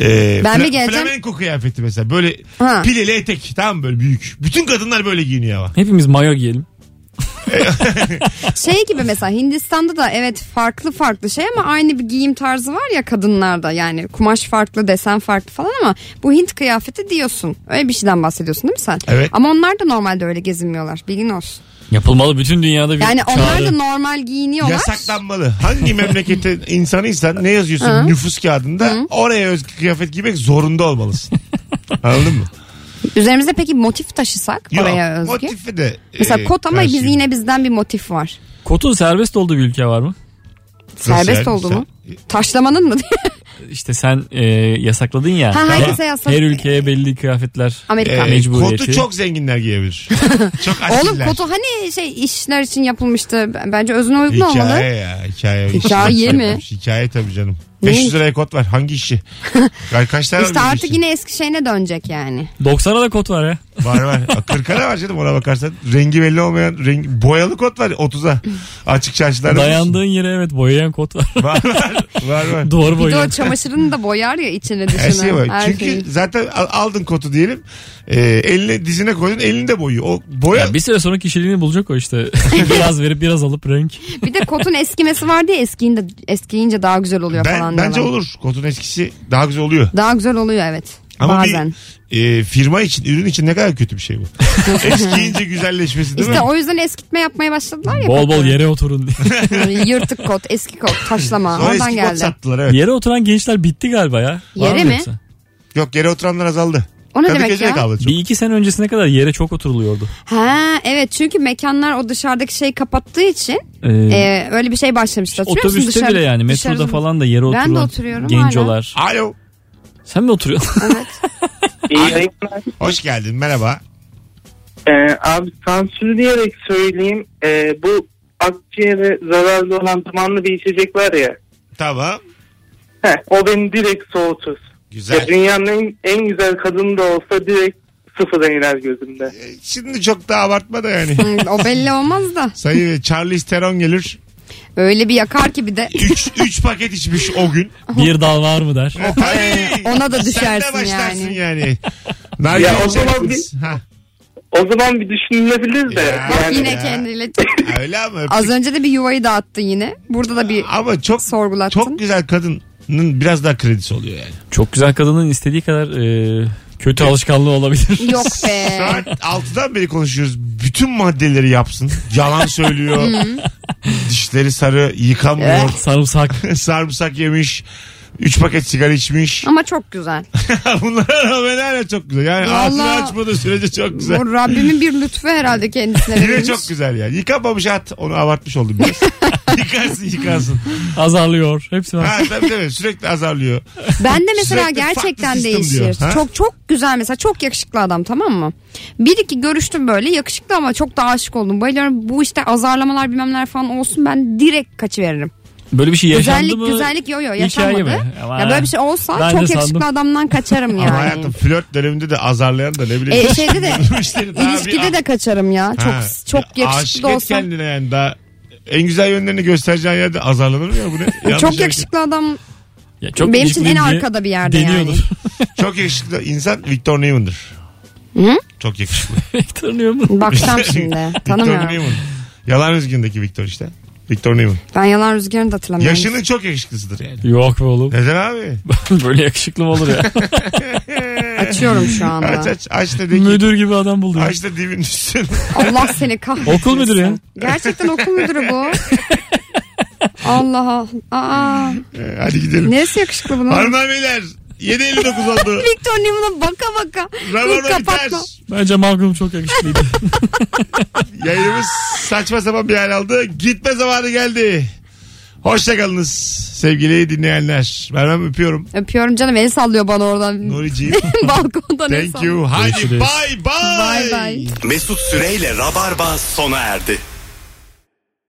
[SPEAKER 2] E,
[SPEAKER 3] Ben
[SPEAKER 2] fla-
[SPEAKER 3] mi geleceğim?
[SPEAKER 2] Flamenco kıyafeti mesela. Böyle
[SPEAKER 3] Ha.
[SPEAKER 2] pileli etek. Tamam mı? böyle büyük. Bütün kadınlar böyle giyiniyor ama.
[SPEAKER 4] Hepimiz mayo giyelim.
[SPEAKER 3] Şey gibi mesela Hindistan'da da evet farklı farklı şey ama aynı bir giyim tarzı var ya kadınlarda yani kumaş farklı desen farklı falan ama bu Hint kıyafeti diyorsun. Öyle bir şeyden bahsediyorsun değil mi sen?
[SPEAKER 2] Evet.
[SPEAKER 3] Ama onlar da normalde öyle gezinmiyorlar bilgin olsun.
[SPEAKER 4] Yapılmalı bütün dünyada bir
[SPEAKER 3] Yani onlar da
[SPEAKER 4] çağrı.
[SPEAKER 3] normal giyiniyorlar.
[SPEAKER 2] Yasaklanmalı. Hangi memleketin insanıysan ne yazıyorsun nüfus kağıdında oraya özgü kıyafet giymek zorunda olmalısın. Anladın mı?
[SPEAKER 3] Üzerimizde peki motif taşısak
[SPEAKER 2] Yok,
[SPEAKER 3] oraya özgü.
[SPEAKER 2] Motifi de.
[SPEAKER 3] Mesela
[SPEAKER 2] e,
[SPEAKER 3] kot ama
[SPEAKER 2] her
[SPEAKER 3] biz
[SPEAKER 2] şeyin-
[SPEAKER 3] yine bizden bir motif var.
[SPEAKER 4] Kotun serbest olduğu bir ülke var mı?
[SPEAKER 2] Nasıl
[SPEAKER 3] Serbest
[SPEAKER 2] yani?
[SPEAKER 3] oldu
[SPEAKER 2] Sen-
[SPEAKER 3] mu? Taşlamanın mı?
[SPEAKER 4] İşte sen e, yasakladın ya.
[SPEAKER 3] Ha, herkese
[SPEAKER 4] Ama
[SPEAKER 3] yasak-
[SPEAKER 4] Her ülkeye belli kıyafetler.
[SPEAKER 3] Amerika.
[SPEAKER 2] E,
[SPEAKER 4] Mecburiyeti.
[SPEAKER 2] kotu çok zenginler giyebilir. çok asiller.
[SPEAKER 3] Oğlum kotu hani şey işler için yapılmıştı. B- Bence özüne uygun
[SPEAKER 2] Hikaye
[SPEAKER 3] olmalı.
[SPEAKER 2] ya hikaye.
[SPEAKER 3] Hikaye mi?
[SPEAKER 2] Hikaye tabii canım.
[SPEAKER 3] Ne?
[SPEAKER 2] 500 liraya kot var hangi işi? Ka- Kaç tane
[SPEAKER 3] İşte
[SPEAKER 2] var bir
[SPEAKER 3] artık
[SPEAKER 2] işi?
[SPEAKER 3] yine eski şeyine dönecek yani.
[SPEAKER 4] 90'a da kot var ya.
[SPEAKER 2] Var var. 40'a da var canım ona bakarsan. Rengi belli olmayan rengi, boyalı kot var 30'a. Açık çarşılarda.
[SPEAKER 4] Dayandığın yere evet boyayan kot var.
[SPEAKER 2] Var var. Var var.
[SPEAKER 4] Duvar
[SPEAKER 3] Bir de o
[SPEAKER 4] boyayan.
[SPEAKER 3] çamaşırını da boyar ya içine dışına.
[SPEAKER 2] Her şey var.
[SPEAKER 3] Her
[SPEAKER 2] Çünkü
[SPEAKER 3] şeyi.
[SPEAKER 2] zaten al- aldın kotu diyelim. E, eline dizine koydun elinde boyu. O boya
[SPEAKER 4] Ya bir süre sonra kişiliğini bulacak o işte. biraz verip biraz alıp renk.
[SPEAKER 3] Bir de kotun eskimesi vardı ya eskiyince, eskiyince daha güzel oluyor
[SPEAKER 2] ben,
[SPEAKER 3] falan
[SPEAKER 2] bence
[SPEAKER 3] diyorlar.
[SPEAKER 2] olur. Kotun eskisi daha güzel oluyor.
[SPEAKER 3] Daha güzel oluyor evet.
[SPEAKER 2] Ama
[SPEAKER 3] Bazen.
[SPEAKER 2] bir e, firma için, ürün için ne kadar kötü bir şey bu. Eskiyince güzelleşmesi değil
[SPEAKER 3] İşte
[SPEAKER 2] mi?
[SPEAKER 3] o yüzden eskitme yapmaya başladılar ya.
[SPEAKER 4] Bol bol
[SPEAKER 3] kotları. Hani
[SPEAKER 4] yere oturun diye.
[SPEAKER 3] Yırtık kot, eski kot, taşlama.
[SPEAKER 2] Sonra eski
[SPEAKER 3] Oradan
[SPEAKER 2] kot
[SPEAKER 3] geldi.
[SPEAKER 2] sattılar evet.
[SPEAKER 4] yere oturan gençler bitti galiba ya. Var
[SPEAKER 3] Yere
[SPEAKER 4] mı
[SPEAKER 3] mi?
[SPEAKER 4] yoksa?
[SPEAKER 2] Yok yere oturanlar azaldı.
[SPEAKER 3] O ne demek
[SPEAKER 2] Kadıköy'de
[SPEAKER 3] ya?
[SPEAKER 2] kaldı çok.
[SPEAKER 4] Bir iki sene öncesine kadar yere çok oturuluyordu.
[SPEAKER 3] Ha evet çünkü mekanlar o dışarıdaki şeyi kapattığı için
[SPEAKER 4] Ee,
[SPEAKER 3] e, öyle bir şey başlamıştı. Hatırlıyor musun?
[SPEAKER 4] otobüste
[SPEAKER 3] Dışarı-
[SPEAKER 4] bile yani metroda
[SPEAKER 3] dışarı-
[SPEAKER 4] falan da yere
[SPEAKER 3] Ben de
[SPEAKER 4] oturulan
[SPEAKER 3] oturuyorum
[SPEAKER 4] gencolar.
[SPEAKER 2] Alo.
[SPEAKER 4] Sen mi oturuyorsun?
[SPEAKER 6] İyi yayınlar.
[SPEAKER 2] Hoş geldin merhaba.
[SPEAKER 6] Ee, abi sansürleyerek söyleyeyim. Ee, bu akciğere zararlı olan dumanlı bir içecek var ya.
[SPEAKER 2] Tamam.
[SPEAKER 6] Heh, o beni direkt soğutur. Ya
[SPEAKER 2] Güzel.
[SPEAKER 6] dünyanın en, en güzel kadını da olsa direkt sıfıra iner gözümde.
[SPEAKER 2] E, Şimdi çok da abartma da yani.
[SPEAKER 3] Hı, o belli olmaz da.
[SPEAKER 2] Sayı ve Charlize Theron gelir.
[SPEAKER 3] Öyle bir yakar ki bir de.
[SPEAKER 2] 3 paket içmiş o gün.
[SPEAKER 4] bir dal var mı der.
[SPEAKER 2] Ay,
[SPEAKER 3] Ona da
[SPEAKER 2] sen de
[SPEAKER 3] düşersin
[SPEAKER 2] başlarsın
[SPEAKER 3] yani.
[SPEAKER 2] yani. Nargile
[SPEAKER 6] Ya o zaman
[SPEAKER 2] içeriz. Ha,
[SPEAKER 6] O zaman bir düşünülebilir de.
[SPEAKER 2] Ya.
[SPEAKER 3] Bak
[SPEAKER 6] Yani
[SPEAKER 3] yine
[SPEAKER 2] ya.
[SPEAKER 3] kendiyle.
[SPEAKER 2] Öyle ama.
[SPEAKER 3] Az önce de bir yuvayı dağıttı yine. Burada da bir
[SPEAKER 2] Ama çok
[SPEAKER 3] sorgulattın.
[SPEAKER 2] çok güzel kadının biraz daha kredisi oluyor yani.
[SPEAKER 4] Çok güzel kadının istediği kadar e, kötü alışkanlığı olabilir.
[SPEAKER 3] Yok be.
[SPEAKER 2] Saat 6'dan beri konuşuyoruz. Bütün maddeleri yapsın. Yalan söylüyor. Dişleri sarı, yıkanmıyor.
[SPEAKER 3] Eh.
[SPEAKER 4] Sarımsak.
[SPEAKER 2] Sarımsak yemiş. 3 paket sigara içmiş.
[SPEAKER 3] Ama çok güzel.
[SPEAKER 2] Bunlara rağmen hala çok güzel. Yani ağzını
[SPEAKER 3] Vallahi-
[SPEAKER 2] açmadığı sürece çok güzel.
[SPEAKER 3] Bu Rabbimin bir lütfu herhalde kendisine
[SPEAKER 2] Yine
[SPEAKER 3] verilmiş.
[SPEAKER 2] çok güzel yani. Yıkanmamış at. Onu abartmış oldum biraz. yıkansın yıkansın.
[SPEAKER 4] Azarlıyor. Hepsi var.
[SPEAKER 2] Ha, tabii tabii sürekli azarlıyor.
[SPEAKER 3] Ben de mesela
[SPEAKER 2] Sürekli farklı
[SPEAKER 3] gerçekten
[SPEAKER 2] sistem
[SPEAKER 3] değişir.
[SPEAKER 2] diyor, ha?
[SPEAKER 3] çok çok güzel mesela çok yakışıklı adam tamam mı? Bir iki görüştüm böyle yakışıklı ama çok da aşık oldum. Bayılıyorum bu işte azarlamalar bilmemler falan olsun ben direkt kaçıveririm.
[SPEAKER 4] Böyle bir şey yaşandı
[SPEAKER 3] güzellik
[SPEAKER 4] mı?
[SPEAKER 3] güzellik yo yo
[SPEAKER 4] Hikaye
[SPEAKER 3] yaşanmadı.
[SPEAKER 4] mi? Ama-
[SPEAKER 3] Ya böyle bir şey olsa
[SPEAKER 4] Ben de
[SPEAKER 3] çok yakışıklı
[SPEAKER 4] sandım.
[SPEAKER 3] adamdan kaçarım yani.
[SPEAKER 2] Ama hayatım flört döneminde de azarlayan da ne bileyim.
[SPEAKER 3] E, şeyde de
[SPEAKER 2] İşte daha bir-
[SPEAKER 3] ilişkide de kaçarım ya. Çok
[SPEAKER 2] Ha,
[SPEAKER 3] çok
[SPEAKER 2] ya
[SPEAKER 3] yakışıklı
[SPEAKER 2] aşık et
[SPEAKER 3] olsa.
[SPEAKER 2] kendine yani daha en güzel yönlerini göstereceğin yerde azarlanır mı ya şey- bu ne? Yanlış
[SPEAKER 3] Çok
[SPEAKER 2] hareket.
[SPEAKER 3] yakışıklı adam
[SPEAKER 4] Ya çok
[SPEAKER 3] benim için en
[SPEAKER 4] ilişkili
[SPEAKER 3] arkada bir yerde
[SPEAKER 4] deniyordur.
[SPEAKER 2] Çok yakışıklı insan Victor Neyman'dır.
[SPEAKER 3] Hı?
[SPEAKER 2] Çok yakışıklı.
[SPEAKER 4] Tanıyor mu?
[SPEAKER 3] bakacağım şimdi.
[SPEAKER 2] Victor
[SPEAKER 3] Tanımıyorum.
[SPEAKER 2] Neyman. Yalan Üzgün'deki Victor işte. Victor Neyman.
[SPEAKER 3] Ben yalan rüzgarını da hatırlamıyorum.
[SPEAKER 2] Yaşının çok yakışıklısıdır yani.
[SPEAKER 4] Yok be oğlum.
[SPEAKER 2] Neden abi?
[SPEAKER 4] Böyle yakışıklı mı olur ya?
[SPEAKER 3] Açıyorum şu anda.
[SPEAKER 2] aç aç aç da de ki-
[SPEAKER 4] Müdür gibi adam buldu. ya.
[SPEAKER 2] Aç da dibin üstüne.
[SPEAKER 3] Allah seni kahretsin.
[SPEAKER 4] Okul müdürü ya.
[SPEAKER 3] Gerçekten okul müdürü bu. Allah Allah. Aa,
[SPEAKER 2] Ee, Hadi gidelim.
[SPEAKER 3] neresi yakışıklı bunun?
[SPEAKER 2] Hanımlar beyler 7.59 oldu.
[SPEAKER 3] Victor Newman'a baka baka. Dur
[SPEAKER 2] Rabarba biter.
[SPEAKER 3] kapatma.
[SPEAKER 4] Bence Malcolm çok yakışıklıydı.
[SPEAKER 2] Yayınımız saçma sapan bir hal aldı. Gitme zamanı geldi. Hoşçakalınız sevgili dinleyenler. Merhaba öpüyorum.
[SPEAKER 3] Öpüyorum canım el sallıyor bana oradan.
[SPEAKER 2] Nuriciğim.
[SPEAKER 3] Balkondan el
[SPEAKER 2] Thank
[SPEAKER 3] sallıyor.
[SPEAKER 2] you. Haydi
[SPEAKER 4] Görüşürüz.
[SPEAKER 2] bye bye.
[SPEAKER 3] Bye bye.
[SPEAKER 1] Mesut Süreyle Rabarba sona erdi.